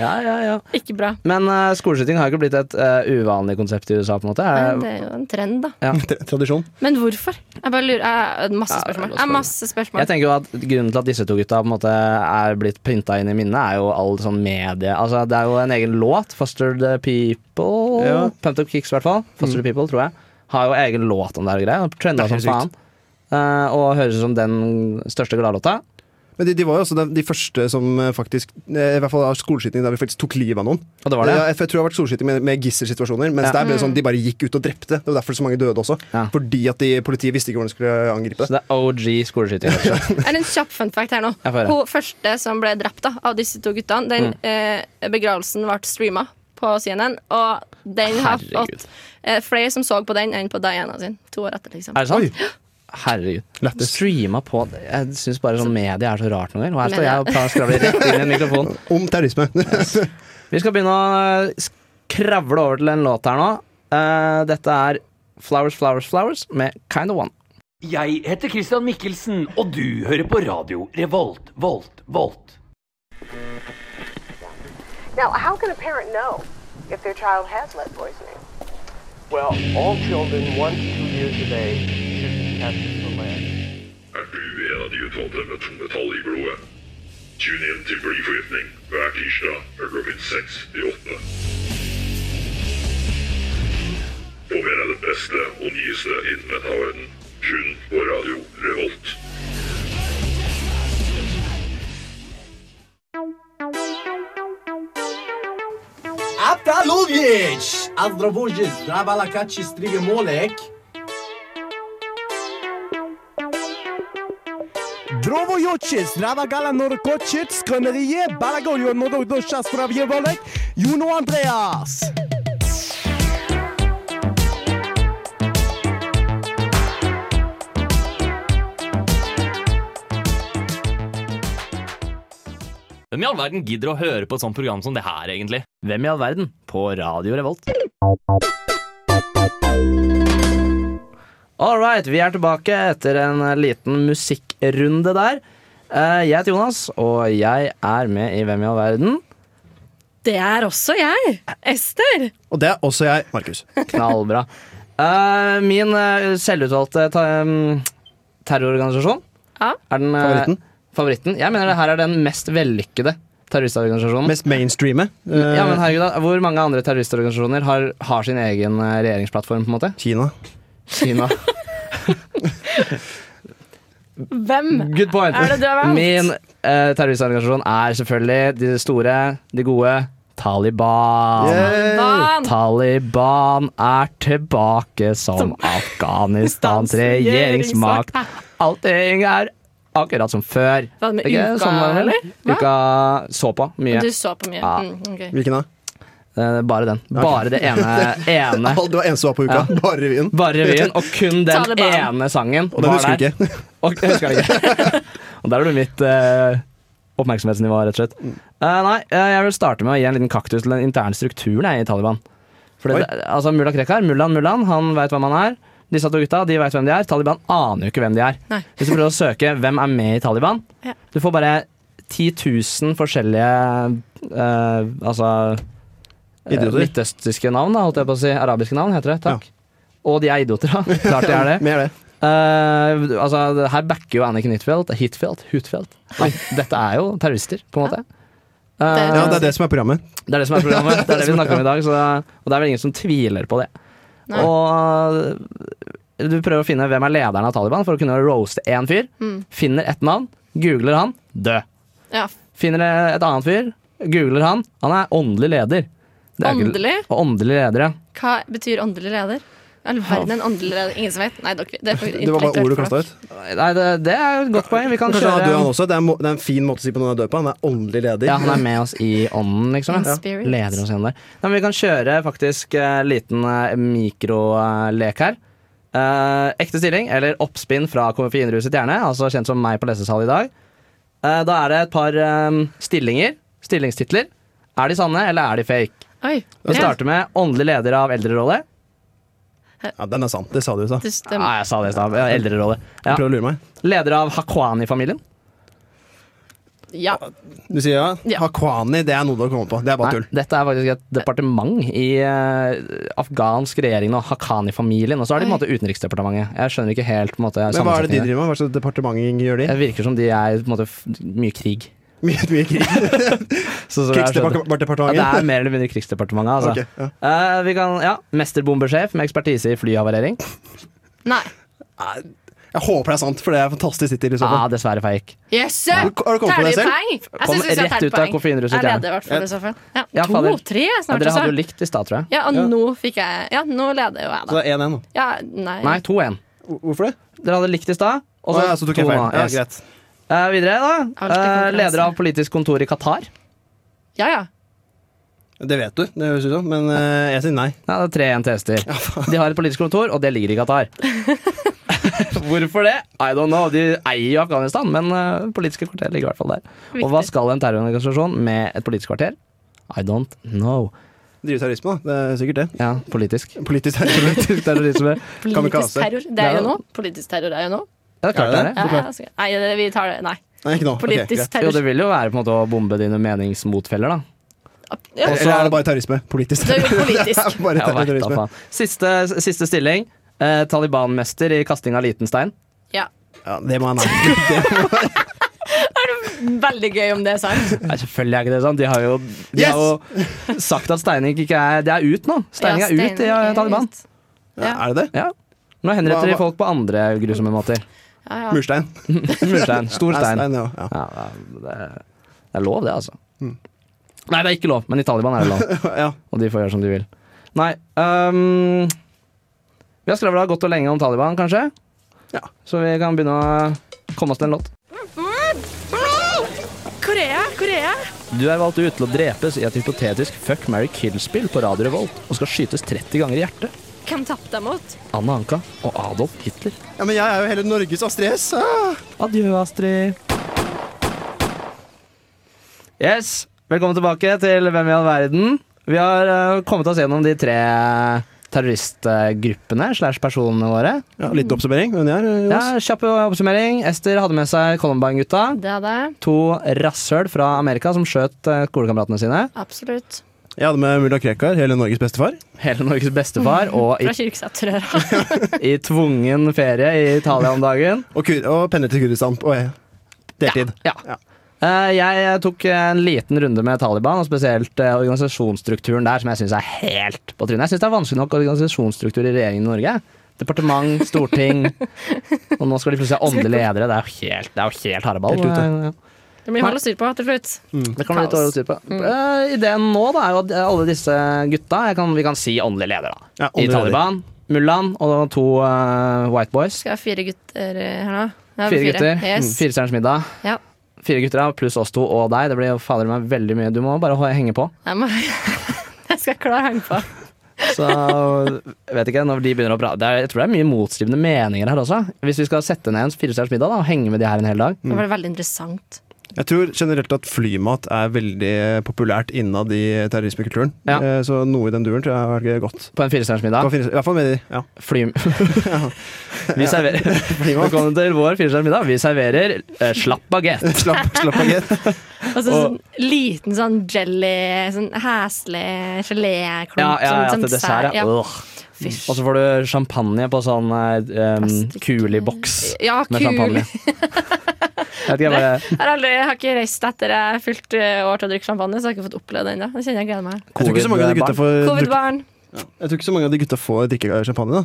[SPEAKER 2] Ja, ja, ja.
[SPEAKER 3] Ikke bra.
[SPEAKER 2] Men eh, skoleskyting har jo ikke blitt et eh, uvanlig konsept i USA, på en måte. Eh,
[SPEAKER 3] Men det er jo en trend, da.
[SPEAKER 4] Tra- Tradisjon.
[SPEAKER 3] Men hvorfor? Jeg bare lurer. Jeg har masse
[SPEAKER 2] Ja, det er
[SPEAKER 3] spørsmål.
[SPEAKER 2] godt
[SPEAKER 3] Jeg har
[SPEAKER 2] spørsmål.
[SPEAKER 3] masse spørsmål.
[SPEAKER 2] Jeg tenker jo at Grunnen til at disse to gutta på en måte er blitt printa inn i minnet, er jo all sånn medie Altså Det er jo en egen låt, 'Fostered People',
[SPEAKER 4] Ja. Mm.
[SPEAKER 2] Pumped Up Kicks i hvert fall. Fostered People, tror jeg. Har jo egen låt om det her og greier. Trenda
[SPEAKER 4] Det
[SPEAKER 2] som
[SPEAKER 4] er helt
[SPEAKER 2] faen. Eh, og høres ut som den største gladlåta.
[SPEAKER 4] Men de, de var jo også de, de første som eh, faktisk eh, I hvert fall av skoleskyting der vi faktisk tok livet av noen.
[SPEAKER 2] Og det var det.
[SPEAKER 4] Ja, jeg, jeg tror det har vært solskyting med, med gisselsituasjoner, mens
[SPEAKER 2] Ja.
[SPEAKER 4] der ble
[SPEAKER 3] Mm.
[SPEAKER 4] det sånn de bare gikk ut og drepte. Det var derfor så mange døde også.
[SPEAKER 2] Ja.
[SPEAKER 4] Fordi at de, politiet visste ikke hvordan de skulle angripe.
[SPEAKER 2] Så det er OG skoleskyting. altså. rett og slett.
[SPEAKER 3] Er det en kjapp fun fact her nå.
[SPEAKER 2] Jeg får Mm. høre.
[SPEAKER 3] Hun første som ble drept da, av disse to guttene, den eh, begravelsen ble streama på CNN, og den har
[SPEAKER 2] Herregud.
[SPEAKER 3] fått eh, flere som så på den enn på Diana sin. To år etter, liksom.
[SPEAKER 2] Er det sant? Herregud.
[SPEAKER 4] Lættis.
[SPEAKER 2] Streama på Jeg syns bare sånn medie er så rart noen ganger. Og her står
[SPEAKER 3] Media.
[SPEAKER 2] jeg og pra- skravler rett inn i en mikrofon.
[SPEAKER 4] Sånn, Om terrorisme.
[SPEAKER 2] Vi skal begynne å eh, skravle over til en låt her nå. Eh, dette er Flowers, Flowers, Flowers med Kinda One.
[SPEAKER 9] Jeg heter Christian Mikkelsen, og du hører på radio Revolt, Volt, Volt.
[SPEAKER 10] Now, how can a parent know if their child has lead poisoning?
[SPEAKER 11] Well, all children one to two years of age should be tested for lead.
[SPEAKER 7] Er du en av de utvalgte med tungmetall i blodet? Tune inn til Blyforgiftning hver tirsdag fra klokken seks til åtte. Få med deg det beste og nyeste innen metaverdenen. Kun på radio Revolt.
[SPEAKER 11] Drovojočec, zdrava gala norkočec, skonerie, balagoljo, nodo doša, spravje volek, Juno Andreas.
[SPEAKER 1] Hvem i all verden gidder å høre på et sånt program som det her, egentlig?
[SPEAKER 2] Hvem i all verden? På Radio Revolt. All right, vi er tilbake etter en liten musikkrunde der. Eh, jeg heter Jonas, og jeg er med i Hvem i all verden.
[SPEAKER 3] Det er også jeg! Ester!
[SPEAKER 4] og det er også jeg, Markus.
[SPEAKER 2] Knallbra. Eh, min eh, selvutvalgte ta, mm, terrororganisasjon
[SPEAKER 3] Ja.
[SPEAKER 2] er den eh,
[SPEAKER 4] Favoritten?
[SPEAKER 2] favoritten. Jeg mener det her er den mest vellykkede terroristorganisasjonen.
[SPEAKER 4] Mest mainstreame. eh,
[SPEAKER 2] ja, men herregud, da, Hvor mange andre terroristorganisasjoner har, har sin egen eh, regjeringsplattform? på en måte?
[SPEAKER 4] Kina.
[SPEAKER 2] Kina.
[SPEAKER 3] Hvem?
[SPEAKER 2] Good point.
[SPEAKER 3] Er det du har valgt?
[SPEAKER 2] Min eh, terroristorganisasjon er selvfølgelig de store, de gode Taliban.
[SPEAKER 3] Van!
[SPEAKER 2] Taliban er tilbake som Afghanistans regjeringsmakt. Allting er akkurat som før.
[SPEAKER 3] Var det med
[SPEAKER 2] Ikke
[SPEAKER 3] uka,
[SPEAKER 2] sånn, vel?
[SPEAKER 3] eller? Hva?
[SPEAKER 2] Uka så på mye.
[SPEAKER 3] Du så på mye.
[SPEAKER 2] Ja.
[SPEAKER 3] Mm, ok.
[SPEAKER 4] Hvilken da?
[SPEAKER 2] Eh, Bare den. Bare det ene, ene.
[SPEAKER 4] Al- Det var eneste som var på uka. Bare revyen.
[SPEAKER 2] Bare revyen, og kun den
[SPEAKER 3] Taliban.
[SPEAKER 2] ene sangen.
[SPEAKER 4] Og den husker vi ikke.
[SPEAKER 2] Og, jeg husker det ikke. og der er du mitt eh, oppmerksomhetsnivå, rett og slett.
[SPEAKER 3] Mm.
[SPEAKER 2] Eh, nei, eh, jeg vil starte med å gi en liten kaktus til den interne strukturen jeg, i Taliban. For det, altså, Mulla Krekar, Mullan Mullan, han veit hvem han er. Disse to gutta de vet hvem de er. Taliban aner jo ikke hvem de er.
[SPEAKER 3] Nei.
[SPEAKER 2] Hvis du prøver å søke 'Hvem er med i Taliban',
[SPEAKER 3] Ja.
[SPEAKER 2] du får bare 10 000 forskjellige eh, Altså eh,
[SPEAKER 4] Idioter.
[SPEAKER 2] Midtøstiske navn, da, holdt jeg på å si. Arabiske navn, heter det. Takk. Og de er idioter, da. Klart de er det.
[SPEAKER 4] Mer det.
[SPEAKER 2] Eh, altså, det her backer jo Anniken Huitfeldt. Hitfeldt? Hutfeldt? Nei, dette er jo terrorister, på en måte. Eh,
[SPEAKER 4] Ja, det er det som er programmet.
[SPEAKER 2] det er det som er programmet. Det er det vi snakker om i dag, så, og det er vel ingen som tviler på det.
[SPEAKER 3] Nei.
[SPEAKER 2] Og du prøver å finne hvem er lederen av Taliban, for å kunne roaste én fyr.
[SPEAKER 4] Mm.
[SPEAKER 2] Finner ett navn, googler han, død.
[SPEAKER 3] Ja.
[SPEAKER 2] Finner et annet fyr, googler han, han er åndelig leder. Det er ikke-
[SPEAKER 3] Åndelig?
[SPEAKER 2] Åndelig leder, ja.
[SPEAKER 3] Hva betyr åndelig leder? All verden, en åndelig leder. Ingen som vet? Nei, dere, det, er for
[SPEAKER 4] Det var bare
[SPEAKER 3] intellektuelt
[SPEAKER 4] ord du
[SPEAKER 3] for
[SPEAKER 4] kasta
[SPEAKER 3] dere.
[SPEAKER 4] ut.
[SPEAKER 2] Nei, det, det er et godt poeng. Vi kan
[SPEAKER 4] Kanskje han er død,
[SPEAKER 2] kjøre
[SPEAKER 4] han også. Det er, må, det er en fin måte å si på noen er død på. Han er åndelig leder.
[SPEAKER 2] Ja, han er med oss i ånden, liksom.
[SPEAKER 3] In
[SPEAKER 2] Ja.
[SPEAKER 3] spirit.
[SPEAKER 2] Leder oss gjennom der. Nei, men vi kan kjøre faktisk en liten eh, mikrolek her. Eh, ekte stilling, eller oppspinn fra koffeinruset hjerne, altså kjent som meg på lesesal i dag. Eh, da er det et par eh, stillinger stillingstitler. Er de sanne, eller er de fake?
[SPEAKER 3] Oi.
[SPEAKER 2] Vi starter med åndelig leder av Eldrerådet.
[SPEAKER 4] Ja, den er sant. Det sa du i stad.
[SPEAKER 3] Det stemmer.
[SPEAKER 2] Ja, jeg sa det i stad. Ja, Eldrerådet. Ja.
[SPEAKER 4] Prøv å lure meg.
[SPEAKER 2] Leder av Hakwani-familien.
[SPEAKER 3] Ja.
[SPEAKER 4] Du sier ja?
[SPEAKER 3] Ja.
[SPEAKER 4] Hakwani, det er noe du har kommet på. Det er bare
[SPEAKER 2] Nei,
[SPEAKER 4] tull.
[SPEAKER 2] dette er faktisk et departement i eh, afghansk regjering og Haqqani-familien. Og så er det på en måte Utenriksdepartementet. Jeg skjønner ikke helt på en måte
[SPEAKER 4] Men hva er det de
[SPEAKER 2] sammensetningen.
[SPEAKER 4] driver med? Hva slags departement gjør de?
[SPEAKER 2] Det virker som de er på en måte f- mye krig.
[SPEAKER 4] Mye, mye krig.
[SPEAKER 2] Så- så jeg har skjønt det. sånn- Ja, det er
[SPEAKER 4] Krigsdepartementet?
[SPEAKER 2] mer eller mindre Krigsdepartementet. Altså.
[SPEAKER 4] Ok, ja.
[SPEAKER 2] Eh, vi kan, ja, Mesterbombersjef med ekspertise i flyhavarering.
[SPEAKER 3] Nei.
[SPEAKER 4] Jeg håper det er sant, for det er fantastisk tittel i så
[SPEAKER 2] Ah,
[SPEAKER 4] fall.
[SPEAKER 2] dessverre fake.
[SPEAKER 3] Yes!
[SPEAKER 4] Har du- har du kommet på det selv?
[SPEAKER 3] Terjepoeng! Jeg
[SPEAKER 2] Kom
[SPEAKER 3] synes vi skal
[SPEAKER 2] rett
[SPEAKER 3] ha
[SPEAKER 2] ut av
[SPEAKER 3] terjepoeng.
[SPEAKER 2] koffeinruset
[SPEAKER 3] Jeg
[SPEAKER 2] hjerne.
[SPEAKER 3] leder i hvert fall i så fall. Ja,
[SPEAKER 2] Ja, fader.
[SPEAKER 3] To-tre
[SPEAKER 2] Ja,
[SPEAKER 3] snart,
[SPEAKER 2] dere hadde jo
[SPEAKER 3] altså.
[SPEAKER 2] likt i stad, tror jeg.
[SPEAKER 3] Ja, og nå fikk jeg Ja, nå leder jo jeg,
[SPEAKER 4] Så
[SPEAKER 3] da.
[SPEAKER 4] det er 1-1 nå.
[SPEAKER 3] Ja, nei.
[SPEAKER 2] Nei, 2-1.
[SPEAKER 4] Hvorfor det?
[SPEAKER 2] Dere hadde likt i stad. og
[SPEAKER 4] Å ja, så tok jeg
[SPEAKER 2] 2
[SPEAKER 4] feil.
[SPEAKER 2] nå,
[SPEAKER 4] Ja,
[SPEAKER 2] yes.
[SPEAKER 4] greit.
[SPEAKER 2] Eh, videre, da.
[SPEAKER 3] Alltid konkurranse.
[SPEAKER 2] Eh, leder av politisk kontor i Qatar.
[SPEAKER 3] Ja, ja.
[SPEAKER 4] Det vet du, det høres ut som, men eh, jeg sier nei.
[SPEAKER 2] Nei, det er tre NTS-er. De har et politisk kontor, og det ligger i Qatar. Hvorfor det? I don't know. De eier jo Afghanistan, men eh, politiske kvarter ligger i hvert fall der. Og hva
[SPEAKER 3] Viktig.
[SPEAKER 2] skal en terrororganisasjon med et politisk kvarter? I don't know.
[SPEAKER 4] Driver terrorisme, da. Det er sikkert det.
[SPEAKER 2] Ja, politisk.
[SPEAKER 4] Politisk terrorisme.
[SPEAKER 2] Politisk terrorisme.
[SPEAKER 4] Kan vi
[SPEAKER 3] Politisk
[SPEAKER 4] kaste?
[SPEAKER 3] terror. Det er
[SPEAKER 2] Ja.
[SPEAKER 3] jo nå. Politisk terror er jo nå.
[SPEAKER 2] Ja, det er klart det er det.
[SPEAKER 3] Ja, ja, altså, nei, det- vi tar det. Nei.
[SPEAKER 4] Nei, ikke nå. Ok,
[SPEAKER 3] Politisk
[SPEAKER 4] greit.
[SPEAKER 2] Jo,
[SPEAKER 3] terror.
[SPEAKER 2] det vil jo være på en måte å bombe dine meningsmotfeller, da.
[SPEAKER 3] Ja,
[SPEAKER 4] Eller er det bare terrorisme? Politisk
[SPEAKER 3] det er jo
[SPEAKER 4] terrorisme.
[SPEAKER 3] politisk.
[SPEAKER 4] Det er bare
[SPEAKER 2] Jeg vet da
[SPEAKER 4] terrorisme.
[SPEAKER 2] faen. Siste, siste stilling. Eh, Taliban-mester i kasting av liten stein.
[SPEAKER 3] Ja.
[SPEAKER 4] Ja, det må jeg nei.
[SPEAKER 3] Veldig gøy om det er sant.
[SPEAKER 2] Nei, selvfølgelig er ikke det sant. De har jo, de har jo sagt at steining ikke er Det er ut nå. Steining
[SPEAKER 3] Ja,
[SPEAKER 2] er ut i
[SPEAKER 3] steining
[SPEAKER 2] eh,
[SPEAKER 3] er
[SPEAKER 2] Taliban.
[SPEAKER 3] ut.
[SPEAKER 4] Ja, er det det?
[SPEAKER 2] Ja. Nå henretter
[SPEAKER 4] Hva-
[SPEAKER 2] de
[SPEAKER 4] hva-
[SPEAKER 2] folk på andre grusomme måter.
[SPEAKER 3] Ja, ja.
[SPEAKER 4] Murstein.
[SPEAKER 2] Murstein. Stor
[SPEAKER 4] Nei,
[SPEAKER 2] stein.
[SPEAKER 4] ja, Mm. ja.
[SPEAKER 2] Ja, det, er- det er lov, det, altså. Nei, det er ikke lov, men i Taliban er det lov.
[SPEAKER 4] ja.
[SPEAKER 2] Og de får gjøre som de vil. Nei øhm, Vi har skravla godt og lenge om Taliban, kanskje?
[SPEAKER 4] Ja.
[SPEAKER 2] Så vi kan begynne å komme oss til en låt.
[SPEAKER 3] Korea, Korea.
[SPEAKER 2] Du er valgt ut til å drepes i et hypotetisk fuck, marry, kill-spill på Radio Revolt og skal skytes 30 ganger i hjertet.
[SPEAKER 3] Hvem tapte jeg mot?
[SPEAKER 2] Anna Anka og Adolf Hitler.
[SPEAKER 4] ja, men jeg er jo hele Norges Astrid S. Ah.
[SPEAKER 2] Adjø, Astrid. Yes, velkommen tilbake til Hvem i all verden. Vi har eh, kommet oss gjennom de tre terroristgruppene slash personene våre.
[SPEAKER 4] Ja,
[SPEAKER 3] Mm.
[SPEAKER 4] litt oppsummering, men jeg er eh,
[SPEAKER 2] Ja, Kjapp oppsummering. Ester hadde med seg Columbine-gutta.
[SPEAKER 3] Det hadde jeg.
[SPEAKER 2] To rasshøl fra Amerika som skjøt eh, skolekameratene sine.
[SPEAKER 3] Absolutt.
[SPEAKER 4] Jeg hadde med mulla Krekar, hele Norges bestefar.
[SPEAKER 2] Hele Norges bestefar, og i,
[SPEAKER 3] Fra Kirkeseterøra.
[SPEAKER 2] i tvungen ferie i Italia om dagen.
[SPEAKER 4] Og, kur og pendlet til Kurdistan på eh, deltid.
[SPEAKER 2] Ja.
[SPEAKER 4] Ja.
[SPEAKER 2] Eh, jeg tok en liten runde med Taliban, og spesielt eh, organisasjonsstrukturen der, som jeg syns er helt på trynet. Jeg syns det er vanskelig nok organisasjonsstruktur i regjeringen i Norge. Departement, storting, og nå skal de plutselig ha åndelige ledere. Det er jo helt, det er jo helt hareball.
[SPEAKER 4] Helt ute.
[SPEAKER 2] Eh, ja.
[SPEAKER 3] Det blir hold å styre på til slutt.
[SPEAKER 2] Mm. Det kan bli litt dårlig å styre på. Eh, ideen nå da, er jo at eh, alle disse gutta jeg kan, Vi kan si åndelig leder, da. I
[SPEAKER 4] Ja, åndelig leder.
[SPEAKER 2] Taliban, Mullan og to eh, white boys.
[SPEAKER 3] Skal jeg ha fire gutter eh, her nå? Ja,
[SPEAKER 2] Fire gutter.
[SPEAKER 3] Yes.
[SPEAKER 2] Firestjerners middag.
[SPEAKER 3] Ja.
[SPEAKER 2] Fire gutter ja, pluss oss to og deg. Det blir jo fader meg veldig mye. Du må bare ho- henge på.
[SPEAKER 3] Jeg, må, jeg skal klare å henge på.
[SPEAKER 2] Mm. Så jeg vet ikke, når de begynner å prate det er, Jeg tror det er mye motstridende meninger her også. Hvis vi skal sette ned en firestjerners middag da, og henge med de her en hel dag
[SPEAKER 3] Det var veldig interessant.
[SPEAKER 4] Jeg tror generelt at flymat er veldig populært innad i terrorismekulturen.
[SPEAKER 2] Ja.
[SPEAKER 4] Eh, Så noe i den duren tror jeg har vært godt.
[SPEAKER 2] på en firestjerners
[SPEAKER 4] Kan
[SPEAKER 2] middag
[SPEAKER 4] finnes- I hvert fall med de. Ja.
[SPEAKER 2] Fly... vi serverer
[SPEAKER 4] Flymat.
[SPEAKER 2] Velkommen til vår firestjerners middag. Vi serverer eh, slapp bagett.
[SPEAKER 4] Slapp, slapp av, gitt.
[SPEAKER 3] Og så sånn liten sånn jelly, sånn heslig geléklump.
[SPEAKER 2] Ja, ja, ja,
[SPEAKER 3] sånn,
[SPEAKER 2] til
[SPEAKER 3] sånn
[SPEAKER 2] dessert. Ja.
[SPEAKER 3] Ja.
[SPEAKER 2] Ugh. Og så får du champagne på sånn um,
[SPEAKER 3] Plastikk.
[SPEAKER 2] kuliboks
[SPEAKER 3] Ja,
[SPEAKER 2] med
[SPEAKER 3] kul.
[SPEAKER 2] champagne.
[SPEAKER 3] Jeg
[SPEAKER 2] Jeg vet ikke, jeg bare
[SPEAKER 3] har, aldri, jeg har ikke reist etter jeg har fylt eh, år til å drikke champagne, så jeg har ikke fått oppleve det ennå. Det kjenner jeg gleder meg.
[SPEAKER 4] Jeg tror ikke så mange av de gutta får,
[SPEAKER 2] Eh,
[SPEAKER 4] druk-
[SPEAKER 3] Covid-barn.
[SPEAKER 4] jeg tror ikke så mange av de gutta får drikke champagne, da.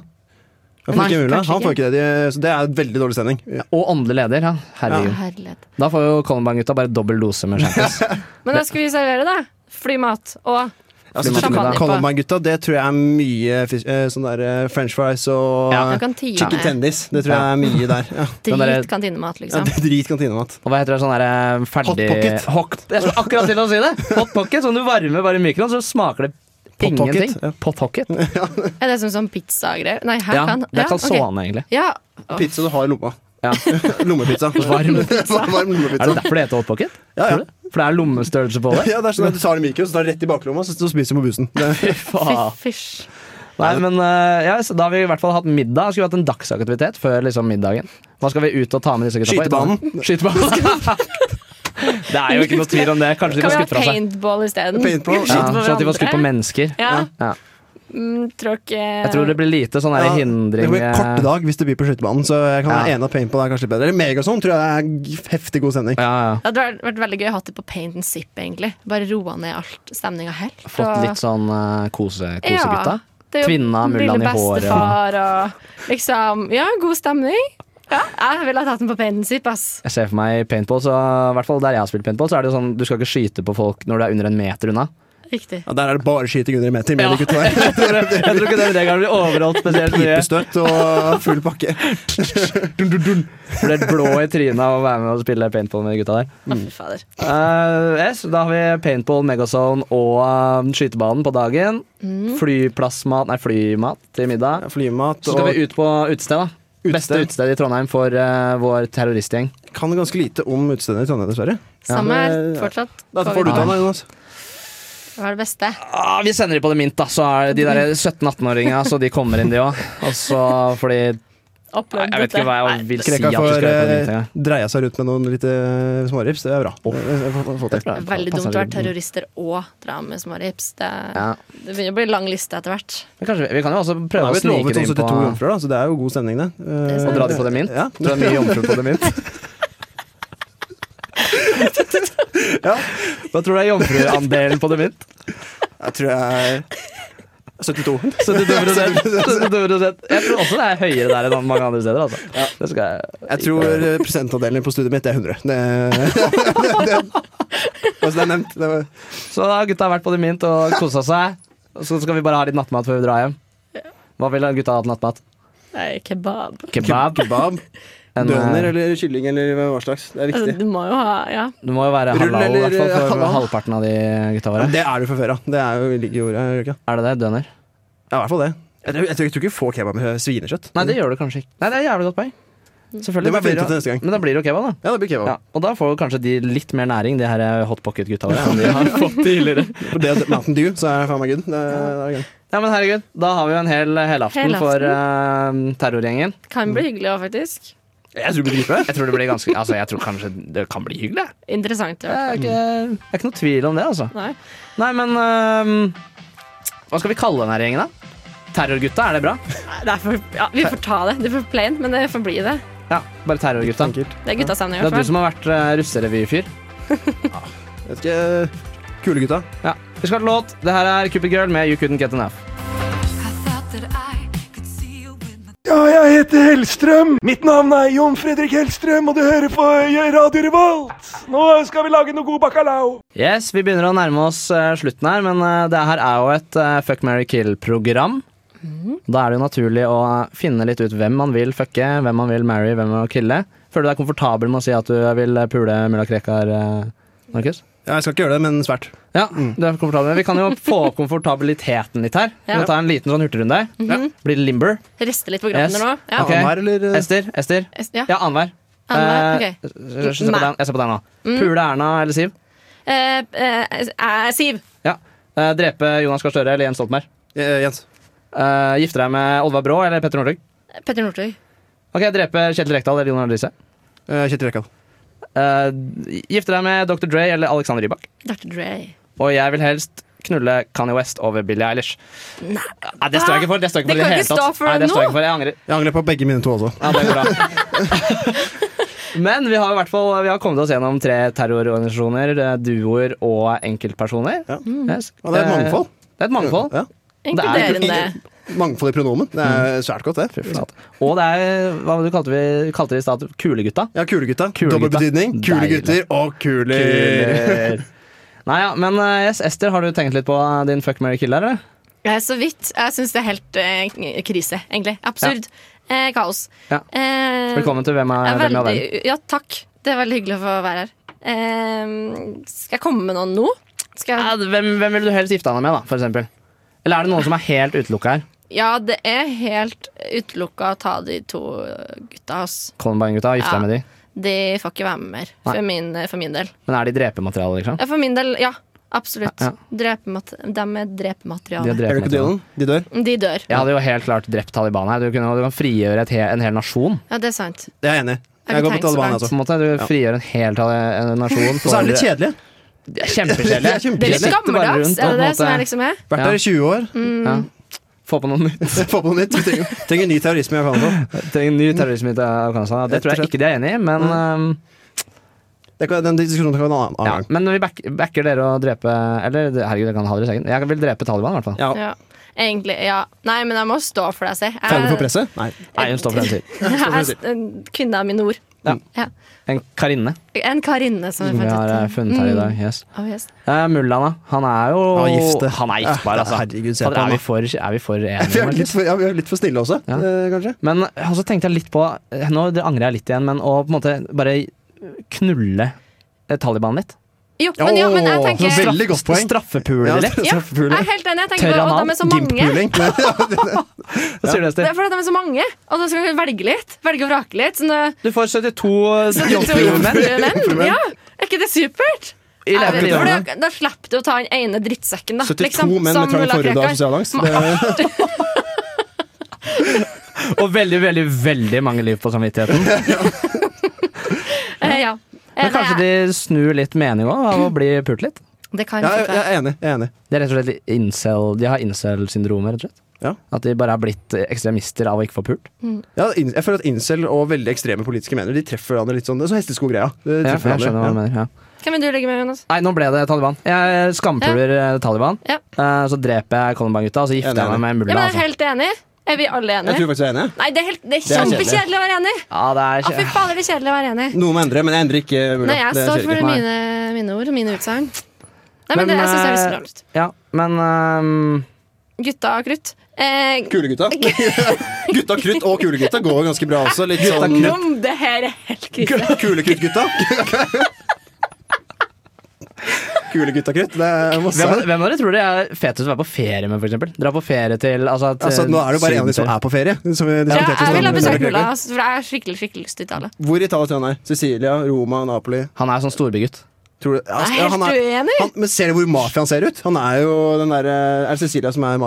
[SPEAKER 4] Jeg får
[SPEAKER 3] Nei,
[SPEAKER 4] ikke mulig.
[SPEAKER 3] kanskje
[SPEAKER 4] Han får ikke det. De, så det er veldig dårlig stemning.
[SPEAKER 2] Og åndelig leder, ja. Herregud.
[SPEAKER 3] Herlighet.
[SPEAKER 2] Da får jo Columbine-gutta bare dobbel dose med champis.
[SPEAKER 3] Men hva skal vi servere, da? Flymat og
[SPEAKER 4] Altså,
[SPEAKER 3] Champagne på.
[SPEAKER 4] Columbine-gutta, det tror jeg er mye fish, eh, sånn der eh, french fries og
[SPEAKER 2] Ja,
[SPEAKER 4] eh,
[SPEAKER 3] en kantine.
[SPEAKER 4] chicken tendis. Det tror jeg er mye der. Ja.
[SPEAKER 2] Den derre-
[SPEAKER 3] Drit kantinemat,
[SPEAKER 4] Ja,
[SPEAKER 3] liksom.
[SPEAKER 4] det er drit kantinemat.
[SPEAKER 2] Og hva heter det sånn derre ferdig
[SPEAKER 4] Hot pocket.
[SPEAKER 2] Hot, jeg skulle akkurat til å si det! Hot pocket, Sånn du varmer bare i mikroen, så smaker det
[SPEAKER 4] Pot pocket,
[SPEAKER 2] ingenting.
[SPEAKER 4] ja.
[SPEAKER 2] Pot pocket.
[SPEAKER 3] Er det som sånn pizzagreier? Nei, her
[SPEAKER 2] Ja,
[SPEAKER 3] kan
[SPEAKER 2] det er
[SPEAKER 3] ok.
[SPEAKER 2] calzone, egentlig.
[SPEAKER 3] Ja,
[SPEAKER 4] Pizza du har i lomma. Lommepizza.
[SPEAKER 2] Varm pizza?
[SPEAKER 4] Varm lommepizza.
[SPEAKER 2] Er det derfor det heter hot pocket?
[SPEAKER 4] Ja, ja.
[SPEAKER 2] Tror du det? For det er lommestørrelse på det?
[SPEAKER 4] Ja, det er sånn at Du tar det i mikroen, så tar du rett i baklomma, så så spiser du på bussen. Det,
[SPEAKER 2] Faen.
[SPEAKER 3] Fysj.
[SPEAKER 2] Nei, men eh, ja, så Da har vi i hvert fall hatt middag. Skulle vi hatt en dagsaktivitet før liksom middagen. Hva skal vi ut og ta med disse gutta
[SPEAKER 4] Skytebanen.
[SPEAKER 2] på? Skytebanen. det er jo ikke noe tvil om det. Kanskje de
[SPEAKER 3] Kan
[SPEAKER 2] får
[SPEAKER 3] vi ha
[SPEAKER 2] skutt fra seg.
[SPEAKER 3] paintball isteden?
[SPEAKER 4] Paintball,
[SPEAKER 2] Ja,
[SPEAKER 3] Skyte på
[SPEAKER 2] så at de får skutt på
[SPEAKER 3] hverandre.
[SPEAKER 2] mennesker.
[SPEAKER 3] Ja.
[SPEAKER 2] Ja.
[SPEAKER 3] Mm, tråkke
[SPEAKER 2] Jeg tror det blir lite sånn der
[SPEAKER 4] Ja, det
[SPEAKER 2] hindring eh,
[SPEAKER 4] blir en kort dag hvis det blir på skytebanen, så jeg kan
[SPEAKER 2] Ja.
[SPEAKER 4] være enig at paintball er kanskje litt bedre. Eller Megason tror jeg er g- heftig god stemning.
[SPEAKER 2] Ja, ja.
[SPEAKER 3] Det hadde vært, vært veldig gøy å ha det på paint and sip, egentlig. Bare roa ned alt stemninga helt.
[SPEAKER 2] Fått litt sånn eh, kose kosegutta.
[SPEAKER 3] det er jo
[SPEAKER 2] Tvinna mullaen i
[SPEAKER 3] lille
[SPEAKER 2] håret.
[SPEAKER 3] Bestefar og liksom Ja, god stemning. Ja, jeg ville ha tatt den på paint and sip, ass.
[SPEAKER 2] Jeg ser for meg i paintball, så i hvert fall der jeg har spilt paintball, så er det jo sånn du skal ikke skyte på folk når du er under en meter unna.
[SPEAKER 3] Riktig.
[SPEAKER 4] Ja, der er det bare skyting under en meter med de gutta der.
[SPEAKER 2] Jeg tror ikke den regelen blir overholdt spesielt mye.
[SPEAKER 4] Pipestøt og full pakke.
[SPEAKER 2] Blir helt blå i trynet av å være med og spille paintball med de gutta der.
[SPEAKER 3] Å, fy fader.
[SPEAKER 2] Eh, yes, da har vi paintball, megazone og eh, skytebanen på dagen. Flyplassmat, nei flymat til middag.
[SPEAKER 4] Flymat
[SPEAKER 2] Så skal
[SPEAKER 4] og
[SPEAKER 2] vi ut på utested, da. Beste utested i Trondheim for eh, vår terroristgjeng.
[SPEAKER 4] Kan ganske lite om utestedene i Trondheim, dessverre.
[SPEAKER 3] Samme
[SPEAKER 4] Ja,
[SPEAKER 3] her,
[SPEAKER 4] men-
[SPEAKER 3] fortsatt.
[SPEAKER 4] Da får du ta den, Jonas.
[SPEAKER 3] Hva er det beste?
[SPEAKER 2] Ah, vi sender de på det mint, da. Så er det de der 17-18-åringene, så de kommer inn, de òg. Og så fordi Nei,
[SPEAKER 3] Opplevd
[SPEAKER 2] Jeg vet ikke hva jeg vil si at
[SPEAKER 4] Krekka
[SPEAKER 2] vi skal
[SPEAKER 4] får
[SPEAKER 2] gjøre på det
[SPEAKER 4] eh,
[SPEAKER 2] mint. engang.
[SPEAKER 4] dreia seg rundt med noen lite eh, smårips. Det er bra. Det får- får- får til.
[SPEAKER 2] tror jeg
[SPEAKER 3] Veldig
[SPEAKER 2] passer
[SPEAKER 3] dumt å være
[SPEAKER 2] litt.
[SPEAKER 3] terrorister og dra med små rips. Det,
[SPEAKER 2] Ja.
[SPEAKER 3] det begynner å bli lang liste etter hvert.
[SPEAKER 2] Men kanskje vi, vi kan jo også
[SPEAKER 4] Da
[SPEAKER 2] prøve
[SPEAKER 4] har
[SPEAKER 2] å
[SPEAKER 4] vi
[SPEAKER 2] snike
[SPEAKER 4] lovet
[SPEAKER 2] det
[SPEAKER 4] om
[SPEAKER 2] inn på
[SPEAKER 4] 72 jomfruer, da, så det er jo god stemning, det. Eh,
[SPEAKER 3] sant.
[SPEAKER 2] Og dra de på det mint.
[SPEAKER 4] Ja.
[SPEAKER 2] Dra mye jomfru på det mint. ja, Hva tror du er jomfruandelen på det mint?
[SPEAKER 4] Jeg tror jeg er 72.
[SPEAKER 2] 72 72%. Jeg tror også det er høyere der enn mange andre steder. Altså. Det skal jeg,
[SPEAKER 4] Jeg tror eh, prosentandelen på studiet mitt er 100. Det, det, det, altså, det er nevnt. Det var,
[SPEAKER 2] Så da har gutta vært på det mint og kosa seg. Og så skal vi bare ha litt nattmat før vi drar hjem. Hva ville gutta hatt nattmat?
[SPEAKER 3] Nei, kebab.
[SPEAKER 2] Kebab?
[SPEAKER 4] kebab,
[SPEAKER 2] En,
[SPEAKER 4] døner
[SPEAKER 2] eh,
[SPEAKER 4] eller kylling eller hva slags. Det er
[SPEAKER 3] Altså,
[SPEAKER 4] viktig.
[SPEAKER 3] du må jo ha Ja.
[SPEAKER 2] Det må jo være
[SPEAKER 4] Rull
[SPEAKER 2] halal i
[SPEAKER 4] eller,
[SPEAKER 2] hvert fall
[SPEAKER 4] eh,
[SPEAKER 2] for
[SPEAKER 4] halal?
[SPEAKER 2] halvparten av de gutta
[SPEAKER 4] Ja,
[SPEAKER 2] våre.
[SPEAKER 4] Det er du fra før av. Det er jo ligger i ordet. er det ikke?
[SPEAKER 2] Er det det? Døner?
[SPEAKER 4] Ja, i hvert fall det. Jeg tror, jeg tror, jeg tror ikke vi får kebab med svinekjøtt.
[SPEAKER 2] Nei, det gjør du kanskje ikke. Nei, det er jævlig godt poeng. Selvfølgelig. da
[SPEAKER 4] Det må jeg
[SPEAKER 2] blir
[SPEAKER 4] finne ut til neste gang.
[SPEAKER 2] Men da blir det jo kebab, da.
[SPEAKER 4] Ja, det blir kebab.
[SPEAKER 2] Ja, og da får jo kanskje de litt mer næring, de her eh, hot pocket-gutta våre. enn de har fått tidligere.
[SPEAKER 4] For det er Mountain Dew, så er det faen meg good. Det, det er good.
[SPEAKER 2] Ja, men herregud, da har vi jo en hel helaften
[SPEAKER 3] Helaften.
[SPEAKER 2] for eh, terrorgjengen.
[SPEAKER 3] Kan bli hyggelig òg, faktisk.
[SPEAKER 4] Jeg tror det blir dritbra.
[SPEAKER 2] Jeg tror det blir ganske Altså, jeg tror kanskje det kan bli hyggelig. jeg.
[SPEAKER 3] Interessant.
[SPEAKER 2] Det
[SPEAKER 3] Ja.
[SPEAKER 2] er ikke, det er ikke noe tvil om det, altså.
[SPEAKER 3] Nei.
[SPEAKER 2] Nei, men eh, Hva skal vi kalle den her gjengen, da? Terrorgutta, er det bra?
[SPEAKER 3] Det er for, ja, vi får ta det. Det er for plain, men det får bli det.
[SPEAKER 2] Ja, bare terrorgutta. Det
[SPEAKER 4] Enkelt.
[SPEAKER 3] Det er guttas stemning.
[SPEAKER 2] er
[SPEAKER 3] i hvert
[SPEAKER 2] du
[SPEAKER 3] fall.
[SPEAKER 2] som har vært uh, russerevyfyr.
[SPEAKER 4] Vet ikke Kule gutta.
[SPEAKER 2] Ja. Vi skal til låt. Det her er Cupid Girl med You Couldn't Get Enough.
[SPEAKER 11] Ja, jeg heter Hellstrøm. Mitt navn er Jon Fredrik Hellstrøm, og du hører på Radio Revolt. Nå skal vi lage noe god bacalao.
[SPEAKER 2] Yes, Vi begynner å nærme oss eh, slutten her, men eh, det her er jo et eh, fuck, marry, kill-program. Da er det jo naturlig å finne litt ut hvem man vil fucke, hvem man vil marry, hvem man vil kille. Føler du deg komfortabel med å si at du vil eh, pule mulla Krekar, eh, Markus?
[SPEAKER 4] Ja, jeg skal ikke gjøre det, men svært.
[SPEAKER 2] Ja,
[SPEAKER 3] Mm.
[SPEAKER 2] du er komfortabel. Vi kan jo få opp komfortabiliteten litt her. Vi kan ta en liten sånn hurtigrunde. her. Blir det limber?
[SPEAKER 3] Riste litt på kroppen
[SPEAKER 2] Yes.
[SPEAKER 3] nå. Ja.
[SPEAKER 2] Ok.
[SPEAKER 4] Annenhver, eller? eh,
[SPEAKER 2] Ester? Ester?
[SPEAKER 3] Ja.
[SPEAKER 2] Ja, annenhver.
[SPEAKER 3] Annenhver,
[SPEAKER 2] Eh,
[SPEAKER 3] ok. Mm.
[SPEAKER 2] jeg ser på
[SPEAKER 3] Meg.
[SPEAKER 2] deg- jeg ser på deg nå. Pule Erna eller Siv?
[SPEAKER 3] Eh, eh, eh, Siv.
[SPEAKER 2] Ja. Eh, drepe Jonas Gahr Støre eller Jens Stoltenberg?
[SPEAKER 4] Eh, Jens.
[SPEAKER 2] Eh, gifte deg med Oddvar Brå eller Petter Northug?
[SPEAKER 3] Petter Northug.
[SPEAKER 2] Ok, Drepe Kjetil Rekdal eller Jon Arne Riise?
[SPEAKER 4] Eh, Kjetil Rekdal.
[SPEAKER 2] Eh, gifte deg med Dr. Dre eller Alexander Rybak?
[SPEAKER 3] Dr. Dre.
[SPEAKER 2] Og jeg vil helst knulle Kanye West over Billie Eilish. Nei, det står jeg ikke for. Det står jeg ikke for
[SPEAKER 3] Det
[SPEAKER 2] i
[SPEAKER 3] kan
[SPEAKER 2] hele
[SPEAKER 3] ikke
[SPEAKER 2] tatt.
[SPEAKER 3] stå for
[SPEAKER 2] Nei, det står jeg
[SPEAKER 3] nå.
[SPEAKER 2] ikke for. Jeg angrer.
[SPEAKER 4] Jeg angrer på begge mine to også.
[SPEAKER 2] Ja, det går bra. Men vi har i hvert fall Vi har kommet oss gjennom tre terrororganisasjoner, eh, duoer og enkeltpersoner.
[SPEAKER 4] Mm. Ja.
[SPEAKER 2] Yes.
[SPEAKER 4] Og det er et
[SPEAKER 2] Eh,
[SPEAKER 4] mangfold.
[SPEAKER 2] Det er et mangfold.
[SPEAKER 4] Ja.
[SPEAKER 3] Inkluderende.
[SPEAKER 4] Mangfold i pronomen. Det
[SPEAKER 2] Mm.
[SPEAKER 4] er svært godt, det.
[SPEAKER 2] Fy flate. Og det er hva var det du kalte vi kalte det i stad? Kulegutta.
[SPEAKER 4] Ja, kule gutta.
[SPEAKER 2] Kule
[SPEAKER 4] Dobbel
[SPEAKER 2] gutta.
[SPEAKER 4] betydning. Kule
[SPEAKER 2] Deilig.
[SPEAKER 4] gutter og kuler.
[SPEAKER 2] Nei, ja, men eh, yes, Ester, har du tenkt litt på eh, din fuck, marry, kill der, eller?
[SPEAKER 3] Eh, så vidt. Jeg syns det er helt eh, krise, egentlig. Absurd. Eh, kaos.
[SPEAKER 2] Ja.
[SPEAKER 3] Eh,
[SPEAKER 2] Velkommen til Hvem er,
[SPEAKER 3] jeg er
[SPEAKER 2] hvem er verden?
[SPEAKER 3] veldig, ja, takk. Det er veldig hyggelig å få være her. Eh, skal jeg komme med noen nå? Skal jeg
[SPEAKER 2] Ja, hvem, hvem vil du helst gifte deg med, da, for eksempel? Eller er det noen som er helt utelukka her?
[SPEAKER 3] Ja, det er helt utelukka å ta de to gutta, ass.
[SPEAKER 2] Columbine-gutta, gifta
[SPEAKER 3] Ja.
[SPEAKER 2] deg med de.
[SPEAKER 3] De får ikke være med mer,
[SPEAKER 2] Nei.
[SPEAKER 3] for min, for min del.
[SPEAKER 2] Men er de drepemateriale, liksom?
[SPEAKER 3] Ja, for min del, ja. Absolutt.
[SPEAKER 2] Ja,
[SPEAKER 3] Drepemat de er
[SPEAKER 2] De er
[SPEAKER 3] drepemateriale.
[SPEAKER 2] drepemateriale.
[SPEAKER 4] De dør?
[SPEAKER 3] De dør.
[SPEAKER 2] Jeg hadde jo helt klart drept Taliban her. Du, kunne, du kan frigjøre et he, en hel nasjon.
[SPEAKER 3] Ja, det er sant.
[SPEAKER 4] Det er jeg enig i.
[SPEAKER 3] Jeg går på Taliban, jeg også.
[SPEAKER 2] På en måte, du frigjør en hel tali en nasjon.
[SPEAKER 4] altså. Og så er de litt kjedelige.
[SPEAKER 2] De er Kjempekjedelige.
[SPEAKER 4] De er kjempekjedelige.
[SPEAKER 2] De
[SPEAKER 3] Dere er
[SPEAKER 2] sitter bare
[SPEAKER 3] gammeldags,
[SPEAKER 2] rundt
[SPEAKER 3] er
[SPEAKER 2] og på en
[SPEAKER 3] det det som
[SPEAKER 2] måte-
[SPEAKER 3] er liksom er?
[SPEAKER 4] Vært der i 20 år.
[SPEAKER 3] Mm.
[SPEAKER 2] Ja. Få på noe nytt.
[SPEAKER 4] Få på noe nytt. Vi trenger, trenger ny terrorisme i Afghanistan.
[SPEAKER 2] Trenger ny terrorisme i Afghanistan. Ja, det tror jeg ikke de er enig i,
[SPEAKER 4] Mm.
[SPEAKER 2] men ehm,
[SPEAKER 4] Det kan, den diskusjonen kan vi ha en annen
[SPEAKER 2] ja.
[SPEAKER 4] gang.
[SPEAKER 2] Men vi back, backer dere å drepe Eller det- herregud, jeg kan ha dere i sengen. Jeg vil drepe Taliban, i hvert fall.
[SPEAKER 4] Ja.
[SPEAKER 3] Ja. Egentlig, ja. Nei, men jeg må stå for det jeg sier.
[SPEAKER 4] Faller du for
[SPEAKER 3] Jeg-
[SPEAKER 4] presset? Nei.
[SPEAKER 2] Nei, hun står for den siden.
[SPEAKER 3] Jeg er en kvinne av mine ord.
[SPEAKER 2] Ja.
[SPEAKER 3] Ja.
[SPEAKER 2] En karinne
[SPEAKER 3] En karinne, som
[SPEAKER 2] som vi har eh, funnet her i dag. Yes.
[SPEAKER 3] Oh, yes.
[SPEAKER 2] Eh, Mullaen, da. Han er jo
[SPEAKER 4] Han er gift, det.
[SPEAKER 2] Han er giftbar,
[SPEAKER 4] Ja,
[SPEAKER 2] altså.
[SPEAKER 4] herregud, se
[SPEAKER 2] Fader,
[SPEAKER 4] på han,
[SPEAKER 2] er,
[SPEAKER 4] da.
[SPEAKER 2] vi for, er vi for
[SPEAKER 4] Vi
[SPEAKER 2] enige?
[SPEAKER 4] er
[SPEAKER 2] Martin?
[SPEAKER 4] litt for, ja, vi er litt for snille også,
[SPEAKER 2] Ja.
[SPEAKER 4] eh, kanskje.
[SPEAKER 2] Men eh, så tenkte jeg litt på eh, Nå angrer jeg litt igjen, men å på en måte bare knulle eh, Taliban litt.
[SPEAKER 3] Jo, men, jo, men jeg
[SPEAKER 4] Åh,
[SPEAKER 3] tenker
[SPEAKER 4] veldig godt poeng.
[SPEAKER 2] Straffepule litt.
[SPEAKER 3] ja, Jeg er helt enig. Jeg tenker
[SPEAKER 2] Tørr
[SPEAKER 3] bare, og
[SPEAKER 2] anal,
[SPEAKER 3] de er så mange.
[SPEAKER 4] Puling. Nei,
[SPEAKER 2] Hva sier du,
[SPEAKER 3] Det
[SPEAKER 2] Ester?
[SPEAKER 3] er fordi de er så mange, og da skal vi velge litt. Velge og vrake litt. Sånn, eh,
[SPEAKER 2] Du får 72
[SPEAKER 3] så du- så-
[SPEAKER 2] jomfrumenn
[SPEAKER 3] jomfrumenn. Ja, er ikke det supert?
[SPEAKER 2] i
[SPEAKER 3] Ja,
[SPEAKER 2] levende
[SPEAKER 3] for
[SPEAKER 2] liv.
[SPEAKER 3] da, da slipper du å ta den ene drittsekken, da.
[SPEAKER 4] 72
[SPEAKER 3] liksom,
[SPEAKER 4] menn
[SPEAKER 3] som
[SPEAKER 4] med trang
[SPEAKER 3] Ulla
[SPEAKER 4] forhud av
[SPEAKER 3] Krekar.
[SPEAKER 4] sosial angst. Det,
[SPEAKER 2] Og veldig, veldig veldig mange liv på samvittigheten.
[SPEAKER 3] Eh, ja. Eh,
[SPEAKER 2] Men kanskje
[SPEAKER 3] det,
[SPEAKER 2] de snur litt mening òg, av å bli pult litt?
[SPEAKER 3] er- det kan
[SPEAKER 4] ja,
[SPEAKER 3] fort
[SPEAKER 4] jeg, jeg
[SPEAKER 3] være.
[SPEAKER 4] er enig. Jeg er enig.
[SPEAKER 2] Det er rett og slett incel, De har incel-syndromet, rett og slett.
[SPEAKER 4] Ja.
[SPEAKER 2] At de bare er blitt ekstremister av å ikke få pult.
[SPEAKER 4] Ja, in- jeg føler at incel og veldig ekstreme politiske mener De treffer hverandre litt sånn. Det er sånn hesteskogreia. Det
[SPEAKER 2] Ja, jeg
[SPEAKER 4] treffer
[SPEAKER 2] skjønner hva du
[SPEAKER 4] hverandre.
[SPEAKER 2] mener. Ja.
[SPEAKER 3] Hvem vil du legge med, Jonas?
[SPEAKER 2] Nei, nå ble det Taliban. Jeg skampuler eh, Taliban.
[SPEAKER 3] Ja.
[SPEAKER 2] Eh, så dreper jeg Columbine-gutta, og så gifter
[SPEAKER 4] Enig,
[SPEAKER 2] jeg meg med
[SPEAKER 3] Ja,
[SPEAKER 2] mulla.
[SPEAKER 3] men jeg er
[SPEAKER 2] Altså.
[SPEAKER 3] helt enig. Er vi alle
[SPEAKER 4] Jeg
[SPEAKER 3] enige?
[SPEAKER 4] tror faktisk jeg er enig.
[SPEAKER 3] Nei, det er, helt, det er
[SPEAKER 4] er kjedelig.
[SPEAKER 3] kjempekjedelig å være enig.
[SPEAKER 2] Ja, det er
[SPEAKER 3] Å, fy
[SPEAKER 2] ikke
[SPEAKER 3] fader, det er kjedelig å være enig.
[SPEAKER 4] Noe må endre, men jeg endrer ikke mulla.
[SPEAKER 3] Nei, jeg
[SPEAKER 4] Det
[SPEAKER 3] står
[SPEAKER 4] skjer
[SPEAKER 3] for
[SPEAKER 4] ikke.
[SPEAKER 3] mine, mine ord og mine utsagn. Nei, men,
[SPEAKER 2] Men,
[SPEAKER 3] det, jeg synes det høres
[SPEAKER 2] eh,
[SPEAKER 3] bra ut.
[SPEAKER 2] Ja, men ehm,
[SPEAKER 3] Gutta og krutt. Eh,
[SPEAKER 4] Kulegutta. gutta krutt og kulegutta går jo ganske bra også. Litt sånn
[SPEAKER 3] Nom, mm, det her er helt krise.
[SPEAKER 4] Kulekruttgutta. Kulekuttakrutt. Det er masse.
[SPEAKER 2] hvem, av- hvem av dere tror det er fetest å være på ferie med, for eksempel? Dra på ferie til altså, til
[SPEAKER 4] Altså, nå er det jo bare en av de som
[SPEAKER 2] Syden
[SPEAKER 4] er på ferie. Som vi
[SPEAKER 3] Ja,
[SPEAKER 4] diskuterte i
[SPEAKER 3] jeg vil ha
[SPEAKER 4] stad.
[SPEAKER 3] besøkt Mulla, altså, for jeg har skikkelig skikkelig lyst til Italia.
[SPEAKER 4] Hvor i Italia tror du han er? Sicilia, Roma, Napoli?
[SPEAKER 2] til- Han er sånn storbygutt.
[SPEAKER 4] Tror du, ja,
[SPEAKER 3] Jeg er
[SPEAKER 4] han
[SPEAKER 3] helt
[SPEAKER 4] er,
[SPEAKER 3] uenig.
[SPEAKER 4] han, men ser du hvor mafiaen ser ut? Han er jo den der, eh, Er det Cecilia som er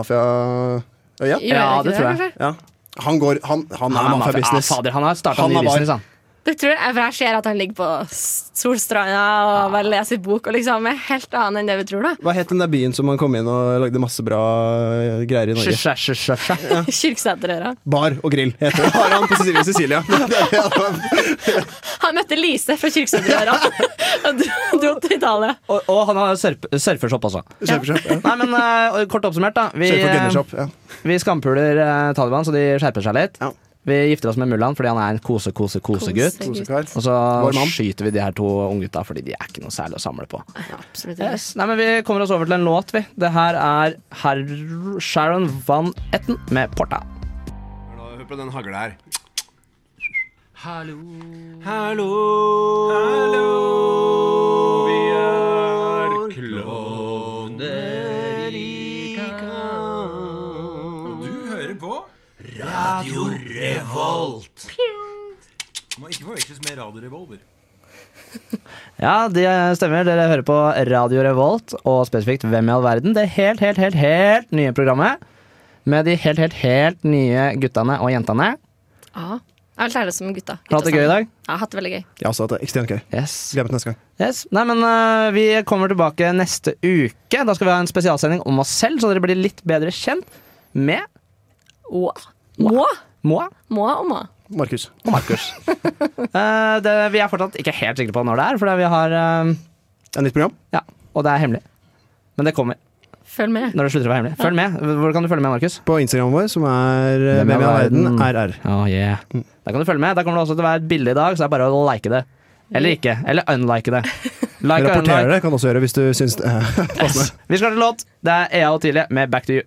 [SPEAKER 4] mafiaøya?
[SPEAKER 3] Gjør
[SPEAKER 2] Ja,
[SPEAKER 3] jeg ikke
[SPEAKER 2] det tror jeg.
[SPEAKER 3] kanskje?
[SPEAKER 4] Ja. Han, går, han, han, er
[SPEAKER 2] mafia-
[SPEAKER 4] mafia-business.
[SPEAKER 2] Ah, fader, han har starta
[SPEAKER 4] Han
[SPEAKER 2] ny
[SPEAKER 4] er bare-
[SPEAKER 2] business, han.
[SPEAKER 3] Det tror jeg, for jeg ser at han ligger på s- Solstranda
[SPEAKER 2] Ah.
[SPEAKER 3] og bare leser bok og liksom er helt annen enn det vi tror, da.
[SPEAKER 4] Hva het den der byen som han kom inn og lagde masse bra eh, greier i Norge?
[SPEAKER 2] Sjø, sjø, sjø, sjø.
[SPEAKER 3] Kyrksæterøra.
[SPEAKER 4] Bar og grill heter det. Har han på Cecilia Cecilia? Det er det han-
[SPEAKER 3] Han møtte Lise fra Kyrksæterøra og dro- dro til Italia.
[SPEAKER 2] Og, og han har surf, surfershop, altså.
[SPEAKER 4] Surfershop, ja.
[SPEAKER 2] Nei, men eh, kort oppsummert, da. Vi,
[SPEAKER 4] Surfer- og gunnershop, ja.
[SPEAKER 2] vi skampuler eh, Taliban, så de skjerper seg litt.
[SPEAKER 4] Ja.
[SPEAKER 2] Vi gifter oss med mullaen fordi han er en kose-kose-kosegutt.
[SPEAKER 3] Kosegutt.
[SPEAKER 4] Kosekar.
[SPEAKER 2] Og så
[SPEAKER 4] Vår mann.
[SPEAKER 2] skyter vi de her to unggutta fordi de er ikke noe særlig å samle på.
[SPEAKER 3] Absolutt. ikke.
[SPEAKER 2] Yes. Nei, men Vi kommer oss over til en låt, vi. Det her er Herr Sharon Van Etten med Porta.
[SPEAKER 12] Hør på den hagla her.
[SPEAKER 2] Ja, det stemmer. Dere hører på Radio Revolt, og spesifikt Hvem i all verden? Det helt, helt, helt, helt nye programmet. Med de helt, helt, helt nye guttene og jentene.
[SPEAKER 3] Ja. Jeg vil lære det som gutta.
[SPEAKER 2] Har du hatt det gøy i dag?
[SPEAKER 3] Ja, jeg har hatt det veldig gøy.
[SPEAKER 4] Jeg har også hatt altså, det ekstremt gøy.
[SPEAKER 2] Yes.
[SPEAKER 4] Glemmer det neste gang.
[SPEAKER 2] Yes. Nei, men øh, Vi kommer tilbake neste uke. Da skal vi ha en spesialsending om oss selv, så dere blir litt bedre kjent med
[SPEAKER 3] Åh. Må,
[SPEAKER 2] Moa
[SPEAKER 3] må og må.
[SPEAKER 4] Markus.
[SPEAKER 2] og Markus. Eh, det, vi er fortsatt ikke helt sikre på når det er, for vi har øh,
[SPEAKER 4] Det er nytt program.
[SPEAKER 2] Ja, og det er hemmelig. Men det kommer
[SPEAKER 3] Følg med.
[SPEAKER 2] når det slutter å være hemmelig. Følg med. Hvor kan du følge med, Markus?
[SPEAKER 4] På Instagramen vår, som er eh, Hvem i all verden? RR.
[SPEAKER 2] Oh, yeah. Der kan du følge med. Der kommer det også til å være et bilde i dag, så det er bare å like det. Eller ikke. Eller unlike det. Like og
[SPEAKER 4] Rapportere
[SPEAKER 2] unlike.
[SPEAKER 4] det kan du også gjøre hvis du syns det er passende.
[SPEAKER 2] Vi skal til låt. Det er Ea og Tilje med Back to You.